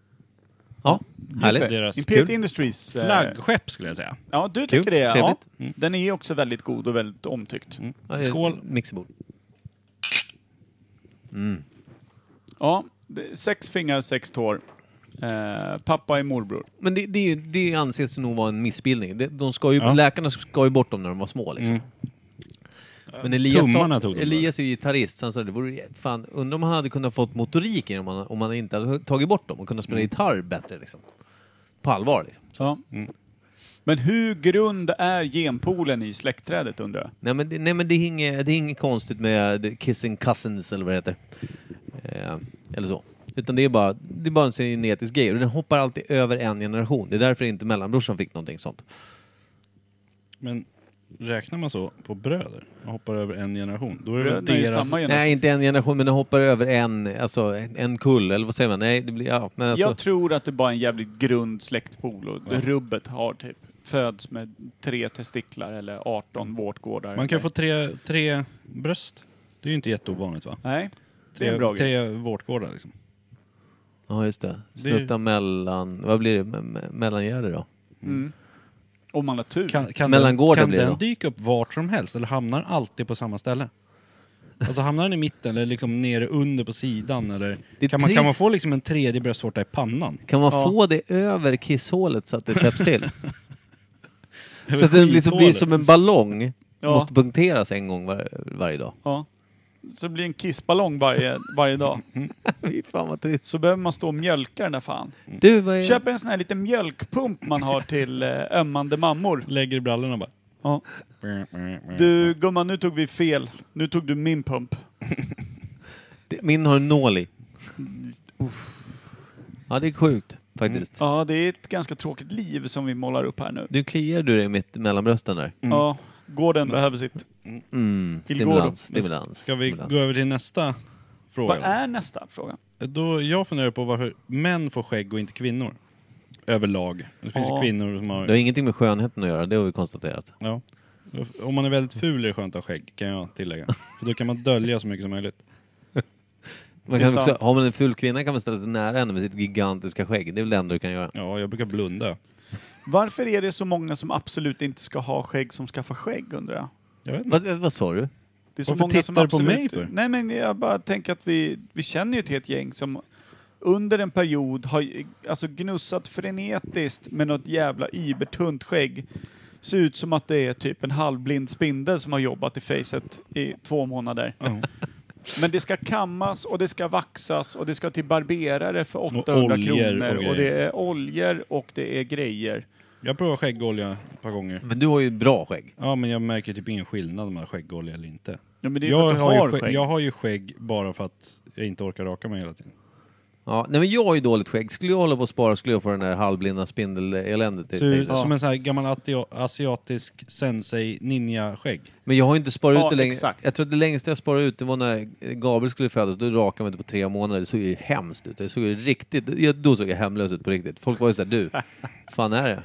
ja, Just härligt. det. Deras- Imperial Kul. Industries. eh, Flaggskepp skulle jag säga. Ja, du tycker Kul. det. Ja. Trevligt. Mm. Den är ju också väldigt god och väldigt omtyckt. Ja, Skål. Mixerbord. Ja, det- sex fingrar, sex tår. Eh, pappa är morbror. Men det, det, är ju- det anses ju nog vara en missbildning. De, de ska ju, Ja. Mm. Läkarna ska ju bort dem när de var små. Liksom. Men Elias, Tummarna sa, tog de Elias är ju gitarrist, så han sa det vore ju- fan, undrar om han hade kunnat fått motorik i dem om han, om han inte hade tagit bort dem och kunnat Mm. spela gitarr bättre. Liksom. På allvar liksom. Ja. Mm. Men hur grund är genpoolen i släktträdet undrar jag? Nej men, det, nej, men det, är inget, det är inget konstigt med kissing cousins eller vad det heter. Eh, eller så. Utan det är bara, det är bara en genetisk grej. Och den hoppar alltid över en generation. Det är därför inte mellanbrorsan fick någonting sånt. Men räknar man så på bröder och hoppar över en generation, då är det väl Bröderna är ju deras... samma generation. Nej, inte en generation, men den hoppar över en, alltså, en- en kull, eller vad säger man? Nej, det blir, ja, men alltså, Jag tror att det bara är en jävligt grund släktpool och rubbet har typ föds med tre testiklar eller 18 vårtgårdar. Mm. Man kan få tre, tre bröst. Det är ju inte jätteovanligt va? Nej, det är en Tre, bra grej. tre vårtgårdar liksom. ja just det. Snutta mellan, vad blir det, Me- me- mellangärde då? Mm. Om man har tur. Kan, kan Mellangården den, blir det kan då. den dyka upp vart som helst eller hamnar alltid på samma ställe? Alltså hamnar den i mitten eller liksom nere under på sidan eller? Det är Kan man, kan man trist. få liksom en tredje bröstvårta i pannan? Kan man Ja. få det över kisshålet så att det täpps till? så att den liksom blir skithålet. som en ballong Ja. måste punkteras en gång var, varje dag. Ja. Så det blir en kissballong varje, varje dag. Fy fan vad trist. Så behöver man stå och mjölka den där fan. Du, vad är... Köper en sån här liten mjölkpump man har till eh, ömmande mammor. Lägger i brallorna bara. Ja. Du gumman, nu tog vi fel. Nu tog du min pump. Det- Min har en nål i. Ja, det är sjukt faktiskt. Mm. Ja, det är ett ganska tråkigt liv som vi målar upp här nu. Nu kliar du dig mitt mellan brösten där. Ja, gården behöver sitt. Mm. Till Stimulans, Gordon. stimulans. Ska vi stimulans. gå över till nästa Vad fråga? är nästa fråga? Då jag funderar på varför män får skägg och inte kvinnor. Överlag. Det finns Ja. ju kvinnor som har... Det har ingenting med skönheten att göra, det har vi konstaterat. Ja. Om man är väldigt ful är det skönt att ha skägg, kan jag tillägga. För då kan man dölja så mycket som möjligt. Man Det kan är också, sant. har man en ful kvinna kan man ställa sig nära henne med sitt gigantiska skägg. Det är väl det enda du kan göra. Ja, jag brukar blunda. Varför är det så många som absolut inte ska ha skägg som skaffar skägg undrar jag? Jag vet inte. Vad, vad sa du? Det är så Varför många som tittar du på absolut... mig för? Nej men jag bara tänker att vi, vi känner ju till ett gäng som under en period har eh, alltså gnussat frenetiskt med något jävla ybertunt skägg. Ser ut som att det är typ en halvblind spindel som har jobbat i facet i två månader. Men det ska kammas och det ska vaxas och det ska till barberare för 800 oljor och kronor. grejer. och det är oljor och det är grejer. Jag provar skäggolja ett par gånger. Men du har ju bra skägg. Ja, men jag märker typ ingen skillnad om man har skäggolja eller inte. Ja, men det är Jag för att du har ju skägg. jag har ju skägg bara för att jag inte orkar raka mig hela tiden. Ja, nej men jag har ju dåligt skägg. Skulle jag hålla på och spara skulle jag få den där halvblinda spindeleländet. i Så, fejset. Som en sån här gammal atio- asiatisk sensei ninja-skägg. Men jag har ju inte sparat Ja, ut det längre. exakt. Jag tror att det längsta jag sparade ut det var när Gabriel skulle födas. Då rakade man inte på tre månader. Det såg ju hemskt ut. Det såg ju riktigt... ja, Då såg jag hemlös ut på riktigt. Folk var ju såhär, du, fan är det?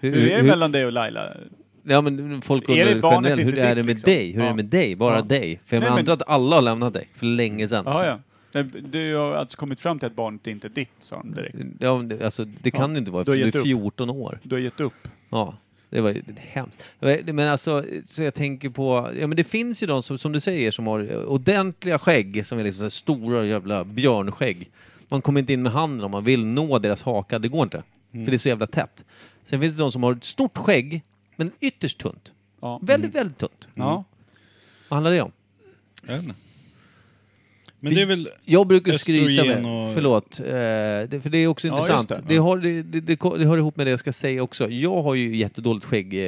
Hur är det mellan dig och Laila? Ja men folk Är det undrar barnet generellt, hur inte är ditt, det med liksom? dig? Hur är Ja. det med dig? Bara Ja. dig? För jag Nej, men- antar att alla har lämnat dig för länge sedan. Jaha, ja. Nej, Du har alltså kommit fram till att barnet inte är ditt, sa de direkt. Ja, men det- alltså, det kan inte vara du har eftersom du är gett upp. 14 år. Du har gett upp. Ja, det var ju det är hemskt. Det var- Men alltså, så jag tänker på, ja men det finns ju de som, som du säger som har ordentliga skägg som är liksom så här stora jävla björnskägg. Man kommer inte in med handen om man vill nå deras haka, det går inte. Mm. För det är så jävla tätt. Sen finns det de som har ett stort skägg, men ytterst tunt. Ja. Väldigt, väldigt tunt. Mm. Ja. Vad handlar det om? Jag vet inte. Men det är väl... Jag brukar Östrogen skryta med, och- förlåt, eh, det, för det är också Ja, intressant. just Det. det. har, det, det, det, ko- det hör ihop med det jag ska säga också. Jag har ju jättedåligt skägg, eh,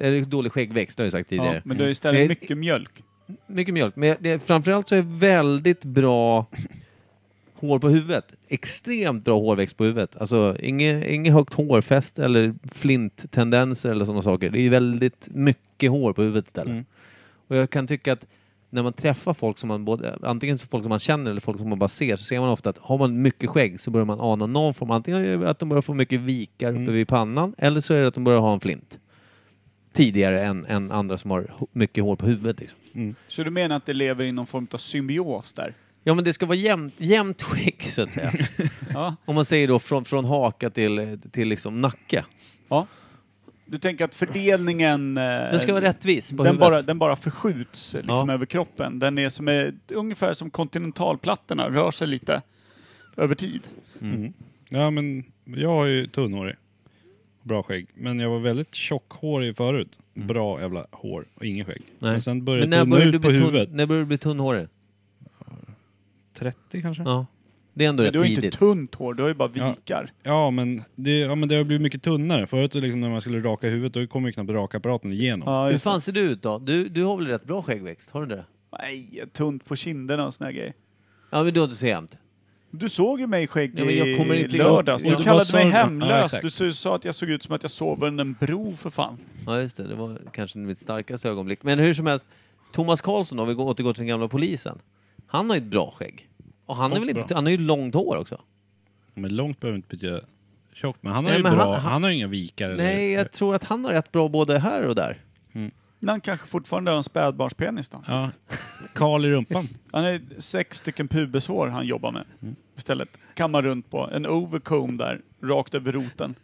eller dålig skäggväxt, det har jag sagt tidigare. Ja, men du har istället Men- mycket mjölk. Mycket mjölk, men det, framförallt så är väldigt bra hår på huvudet. Extremt bra hårväxt på huvudet. Alltså inget, inget högt hårfäst eller flinttendenser eller sådana saker. Det är ju väldigt mycket hår på huvudet istället. Mm. Och jag kan tycka att när man träffar folk som man både, antingen så folk som man känner eller folk som man bara ser, så ser man ofta att har man mycket skägg så börjar man ana någon form, antingen är det att de börjar få mycket vikar uppe vid pannan eller så är det att de börjar ha en flint. Tidigare än, än andra som har h- mycket hår på huvudet. Liksom. Så du menar att det lever i någon form av symbios där? Ja, men det ska vara jämnt, jämnt skick, så att säga. Ja. Om man säger då från, från haka till, till liksom nacke. ja. Du tänker att fördelningen... eh, Den ska vara rättvis på Den huvudet. bara, den bara förskjuts liksom Ja. över kroppen. Den är som är, ungefär som kontinentalplattorna, rör sig lite över tid. Mm. Mm. Ja, men jag har ju tunnhårig. Bra skägg. Men jag var väldigt tjockhårig förut. Bra jävla hår och inget skägg. Mm. Nej. Men sen började Men när det tunna börjar du ut på bli tunn- huvudet. När börjar du bli tunnhårig? 30 kanske? Ja. Det är ändå Men rätt du har ju tidigt. inte tunt hår, du har ju bara vikar. Ja men, det, ja, men det har blivit mycket tunnare. Förut liksom, när man skulle raka huvudet, då kom ju knappt rakapparaten igenom. Ja, Hur just det. fan ser du ut då? Du, du har väl rätt bra skäggväxt? Har du inte det? Nej, tunt på kinderna och såna här grejer. Ja, men du har inte så jämnt. Du såg ju mig skägg Ja, men jag kommer i inte- lördags. jag- Du jag- kallade jag- mig jag- Ja, hemlös. exakt. du sa- sa att jag såg ut som att jag sov under en bro för fan. Ja, just det. Det var kanske mitt starkaste ögonblick. Men hur som helst, Thomas Karlsson, om vi går- återgår till den gamla polisen. Han har ju ett bra skägg. Och han, är väl inte, han har ju långt hår också. Men långt behöver inte betyda tjockt. Men han har Nej, ju men bra, han- han, han- har ju inga vikar Nej, eller... jag tror att han har rätt bra både här och där. Men han kanske fortfarande har en spädbarnspenis då. Ja. Kal i rumpan. Han är sex stycken pubeshår han jobbar med Mm. istället. Kammar runt på. En overcomb där, rakt över roten.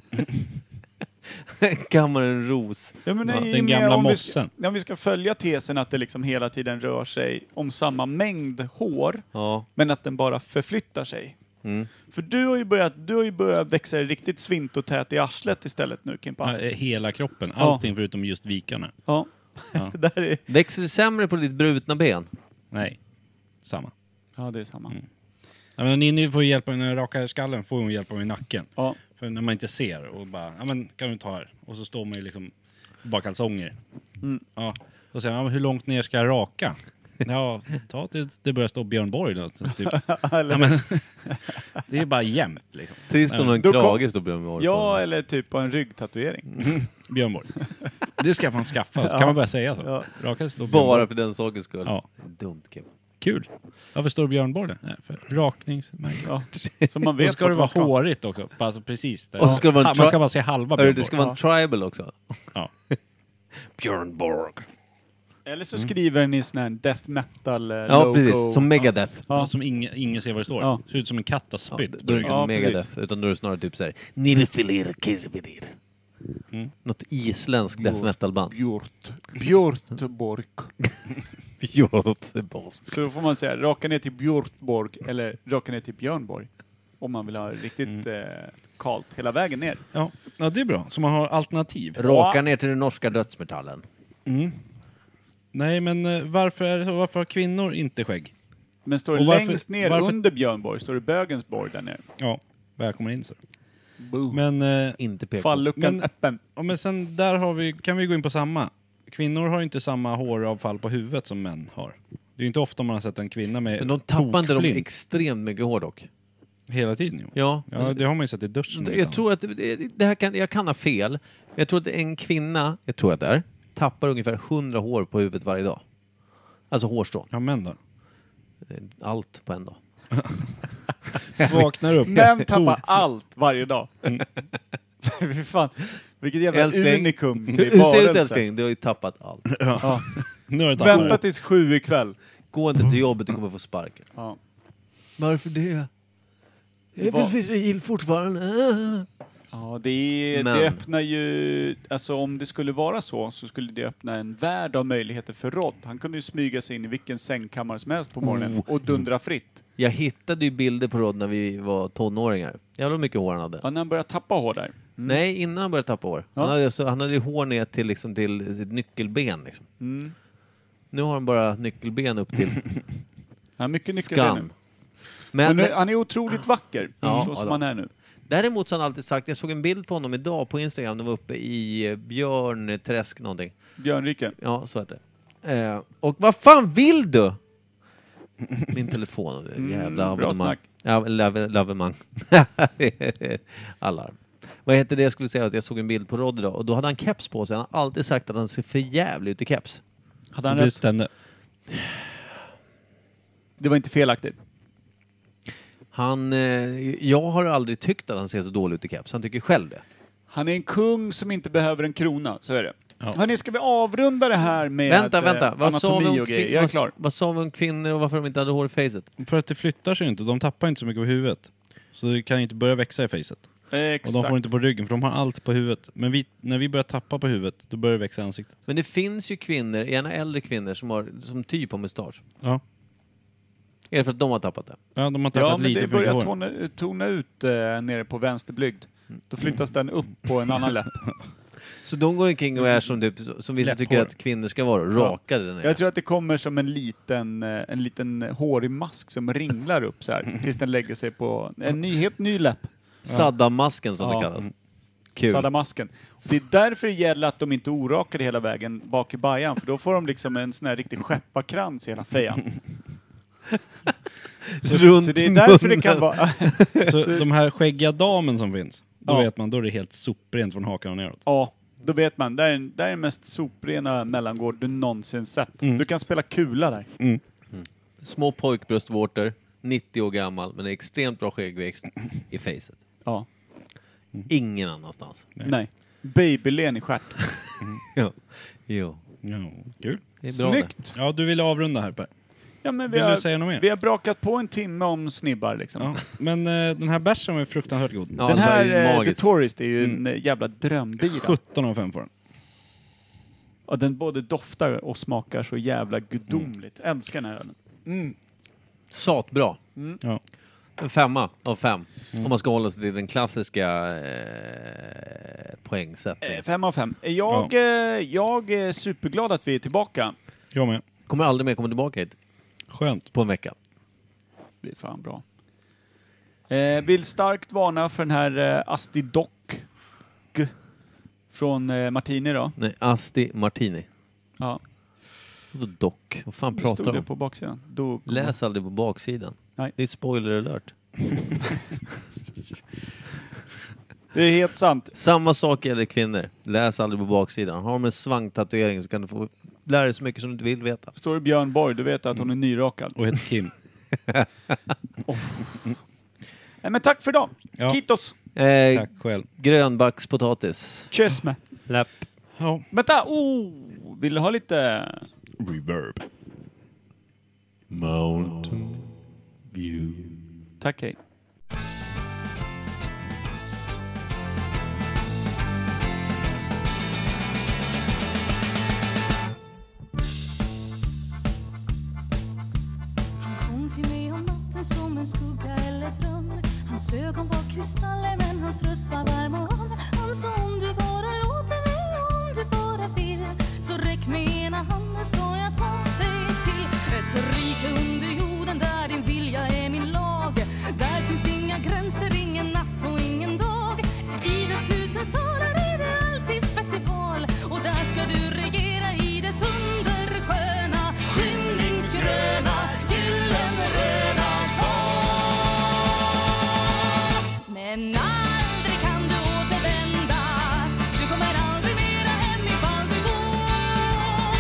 Kammaren Ros. Ja, men Ja, i och den med- gamla om vi mossen. Ska, om vi ska följa tesen att det liksom hela tiden rör sig om samma mängd hår, Ja. men att den bara förflyttar sig. Mm. För du har ju börjät, du har ju börjat växa dig riktigt svint och tät i arslet istället nu, Kimpa. Ja, hela kroppen. Allting förutom just vikarna. Ja. Ja. Det där är... Växer det sämre på ditt brutna ben? Nej, samma. Ja, det är samma. Ja, men Ninni får ju hjälp av, när jag rakar skallen får hon hjälp av min nacken. Ja. För när man inte ser och bara, ja men kan du ta här? Och så står man ju liksom bara kalsonger. Ja. Och sen, ja, men hur långt ner ska jag raka? Ja, ta till det börjar stå Björn Borg då. så Typ. Ja, men, det är bara jämnt liksom. Trist om Nej, en då kom- krage står bredvid mig. Ja, eller typ på en Mm. ryggtatuering. Björn Borg. Det ska man skaffa, så kan man börja säga så. Raka står Björn Bara Borg. för den sakens skull. Ja. Dumt Kevin. Kul. Varför står det Björn Borg där? Nej, för rakningsmärke. Ja. Så man Då vet ska det vart vara man hårigt också. Alltså precis där. Och så ska det vara en Ha- tri- man ska bara se halva Hörru, Björn Det ska Borg. vara en tribal också. Ja. Björn Borg. Eller så Mm. skriver ni sån här death metal eh, Ja, logo. precis. Som Megadeth. Ja, som ingen, ingen ser vad det står. Ja. Ser ut som en katt har spytt Då på är det inte ryggen. Ja, Megadeth, precis. utan då är det snarare typ såhär Nirfilir Kirvilir. Något isländskt death metal-band. Bjort. Bjortborg. Göteborg. Så då får man säga raka ner till Bjortborg eller raka ner till Björnborg. Om man vill ha Mm. riktigt eh, kallt hela vägen ner. Ja. ja, det är bra. Så man har alternativ. Raka ner till den norska dödsmetallen. Nej, men eh, varför, är det så? varför har kvinnor inte skägg? Men står det Och varför- längst ner varför- under Björnborg står det Bögens borg där nere. Ja, välkommen in så. Boom. Men, eh, Inte PK. Falluckan Men- öppen. ja, men sen där har vi, kan vi gå in på samma. Kvinnor har ju inte samma håravfall på huvudet som män har. Det är ju inte ofta man har sett en kvinna med Men de tappar inte de tokflint extremt mycket hår dock. hela tiden. Jo. Ja. Ja, det har man ju sett i duschen. Jag tror att, det det här kan, jag kan ha fel, men jag tror att en kvinna, jag tror att det är, tappar ungefär 100 hår på huvudet varje dag. Alltså hårstrån. Ja, män då? Allt på en dag. Vaknar upp. Män tappar allt varje dag. Fy fan. Vilket jävla Älskling. unikum Hur, det är hur ser det ut varelse. älskling? Du har ju tappat allt. Ja. Nu har det tappat Vänta tills sju ikväll. Gå inte till jobbet, du kommer få sparken. Ja. Varför det? Jag är Vad? väl viril fortfarande. Ja, det, Men- det öppnar ju... Alltså om det skulle vara så, så skulle det öppna en värld av möjligheter för Rod. Han kunde ju smyga sig in i vilken sängkammare som helst på morgonen och dundra fritt. Jag hittade ju bilder på Rod när vi var tonåringar. Jävlar vad mycket hår han hade. Ja, när han började tappa hår där. Nej, innan han började tappa hår. Han, Mm. Ja. hade, så, han hade ju hår ner till, liksom, till sitt nyckelben. Liksom. Mm. Nu har han bara nyckelben upp till Han har mycket nyckelben nu. skam. Men, Och nu. Han är otroligt vacker, Ja, så ja som då. han är nu. däremot så har han alltid sagt, jag såg en bild på honom idag på Instagram, de var uppe i eh, Björnträsk någonting. Björnrike. Ja, så heter det. Eh, och vad fan vill du? Min telefon. Jävla Mm, bra abonnemang. snack. Ja, lave- lavemang. Alarm. Vad hette det jag skulle säga? Att jag såg en bild på Rod idag och då hade han keps på sig. Han har alltid sagt att han ser för jävligt ut i keps. Hade han Det rätt? stämde. Det var inte felaktigt. Han, eh, jag har aldrig tyckt att han ser så dålig ut i keps. Han tycker själv det. Han är en kung som inte behöver en krona, så är det. Ja. Hörni, ska vi avrunda det här med vänta, eh, vänta. Vad sa, vi anatomi om och grejer? kvin- Jag är vad, klar. vad sa vi om kvinnor och varför de inte hade hår i facet? För att det flyttar sig ju inte. De tappar inte så mycket på huvudet. Så det kan ju inte börja växa i facet. Och Exakt. de får inte på ryggen, för de har allt på huvudet. Men vi, när vi börjar tappa på huvudet, då börjar det växa i ansiktet. Men det finns ju kvinnor, gärna äldre kvinnor, som har som typ av mustasch. Ja. Är det för att de har tappat det? ja, de har tappat Ja, men lite det för mycket börjar hår. tona, tona ut eh, nere på vänsterblygd. Då flyttas den upp på en annan läpp. Så de går omkring och är som, typ, som vissa tycker Läpphår. att kvinnor ska vara, rakade där nere. Jag tror att det kommer som en liten, eh, en liten hårig mask som ringlar upp så här tills den lägger sig på en ny, helt ny läpp. Saddam-masken som Ja. det kallas. Kul. Sadamasken. Det är därför det gäller att de inte orakar hela vägen bak i bajan, för då får de liksom en sån här riktig skepparkrans i hela fejan. Runt Så det är därför det munnen. kan vara... Så de här skäggiga damen som finns, då Ja. vet man, då är det helt soprent från hakan och neråt. Ja, då vet man. Där är, där är den mest soprena mellangård du någonsin sett. Mm. Du kan spela kula där. Små pojkbröstvårtor, 90 år gammal, men extremt bra skäggväxt i facet. Ja. Mm. Ingen annanstans. Nej. Babylen i stjärt. Jo. jo. Ja, kul. Det är bra det. Snyggt! Ja, du ville avrunda här Per. Ja, men vi Vill har, du säga något mer? vi har brakat på en timme om snibbar liksom. Ja. Men eh, den här bärsen var ju fruktansvärt god. Ja, Den här är eh, The magisk. Tourist är ju en Mm. eh, jävla drömbira. 17 av 5 får den. Ja, den både doftar och smakar så Mm. jävla gudomligt. Älskar den här ölen. Satbra. Ja. En femma av fem. Om man ska hålla sig till den klassiska eh, poängsättningen. Eh, Fem av fem. Jag, eh, jag är superglad att vi är tillbaka. Jag med. Kommer aldrig mer komma tillbaka hit Skönt. på en vecka. Det är fan bra. Eh, vill starkt varna för den här eh, Asti Dock G- från eh, Martini då. Nej, Asti Martini. Ja, Vadå dock? Vad fan det pratar stod du det om? på baksidan. Dock. Läs aldrig på baksidan. Nej. Det är spoiler alert. Det är helt sant. Samma sak gäller kvinnor. Läs aldrig på baksidan. Har de en svanktatuering så kan du få lära dig så mycket som du inte vill veta. Står det Björn Borg, du vet att hon är nyrakad. Mm. Oh. Och heter Kim. Eh, men tack för idag! Ja. Kitos! Eh, Tack själv. grönbackspotatis. Tjus med! Läpp. Ja. Vänta! Oh! Vill du ha lite... Reverb. Mountain view. Tack, hej. Han kom till mig om natten som en skugga eller dröm Hans ögon var kristaller men hans röst var varm och hon Han sa om du bara låter mig, om du bara vill Så räck mig ena handen ska jag ta dig till Ett rike under jorden där din vilja är min lag Där finns inga gränser, ingen natt och ingen dag I dess tusen salar är det alltid festival Och där ska du regera i dess undersköna skymningsgröna gyllenröda hav. Men aldrig kan du återvända Du kommer aldrig mera hem ifall du går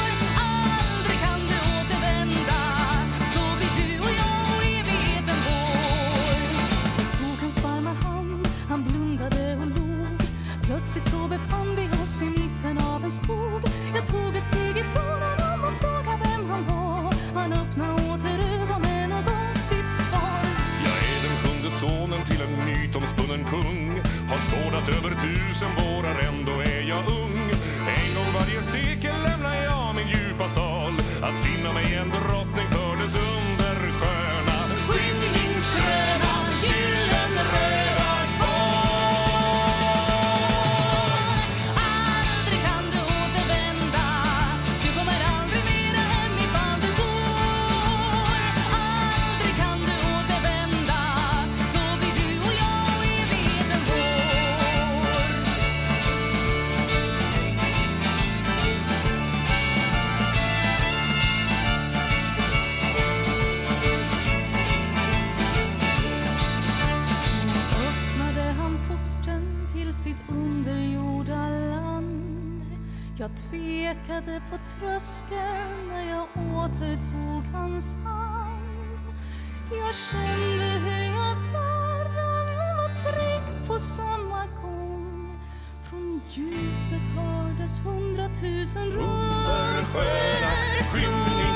Aldrig kan du återvända Då blir du och jag och evigheten vår tog hans varma hand, han blundade och log Plötsligt så befann vi oss i mitten av en skog Jag tog ett steg ifrån honom och frågade vem han var Han öppnade åter ögonen och gav sitt svar Jag är den sjunde sonen till en mytomspunnen kung Har skådat över tusen vårar, ändå är jag ung En gång varje sekel lämnar jag min djupa sal Att finna mig en drottning för dess undersköna skymningsgröna gyllenröda kvar. Aldrig kan du återvända, du kommer aldrig mera hem ifall du går. Aldrig kan du återvända, då blir du och jag och evigheten vår. öppnade han porten till sitt underjorda land. Jag tvekade på tröskeln när jag återtog hans hand. Jag kände hur jag darrade men var trygg på samma gång. Från djupet hördes hundratusen röster. som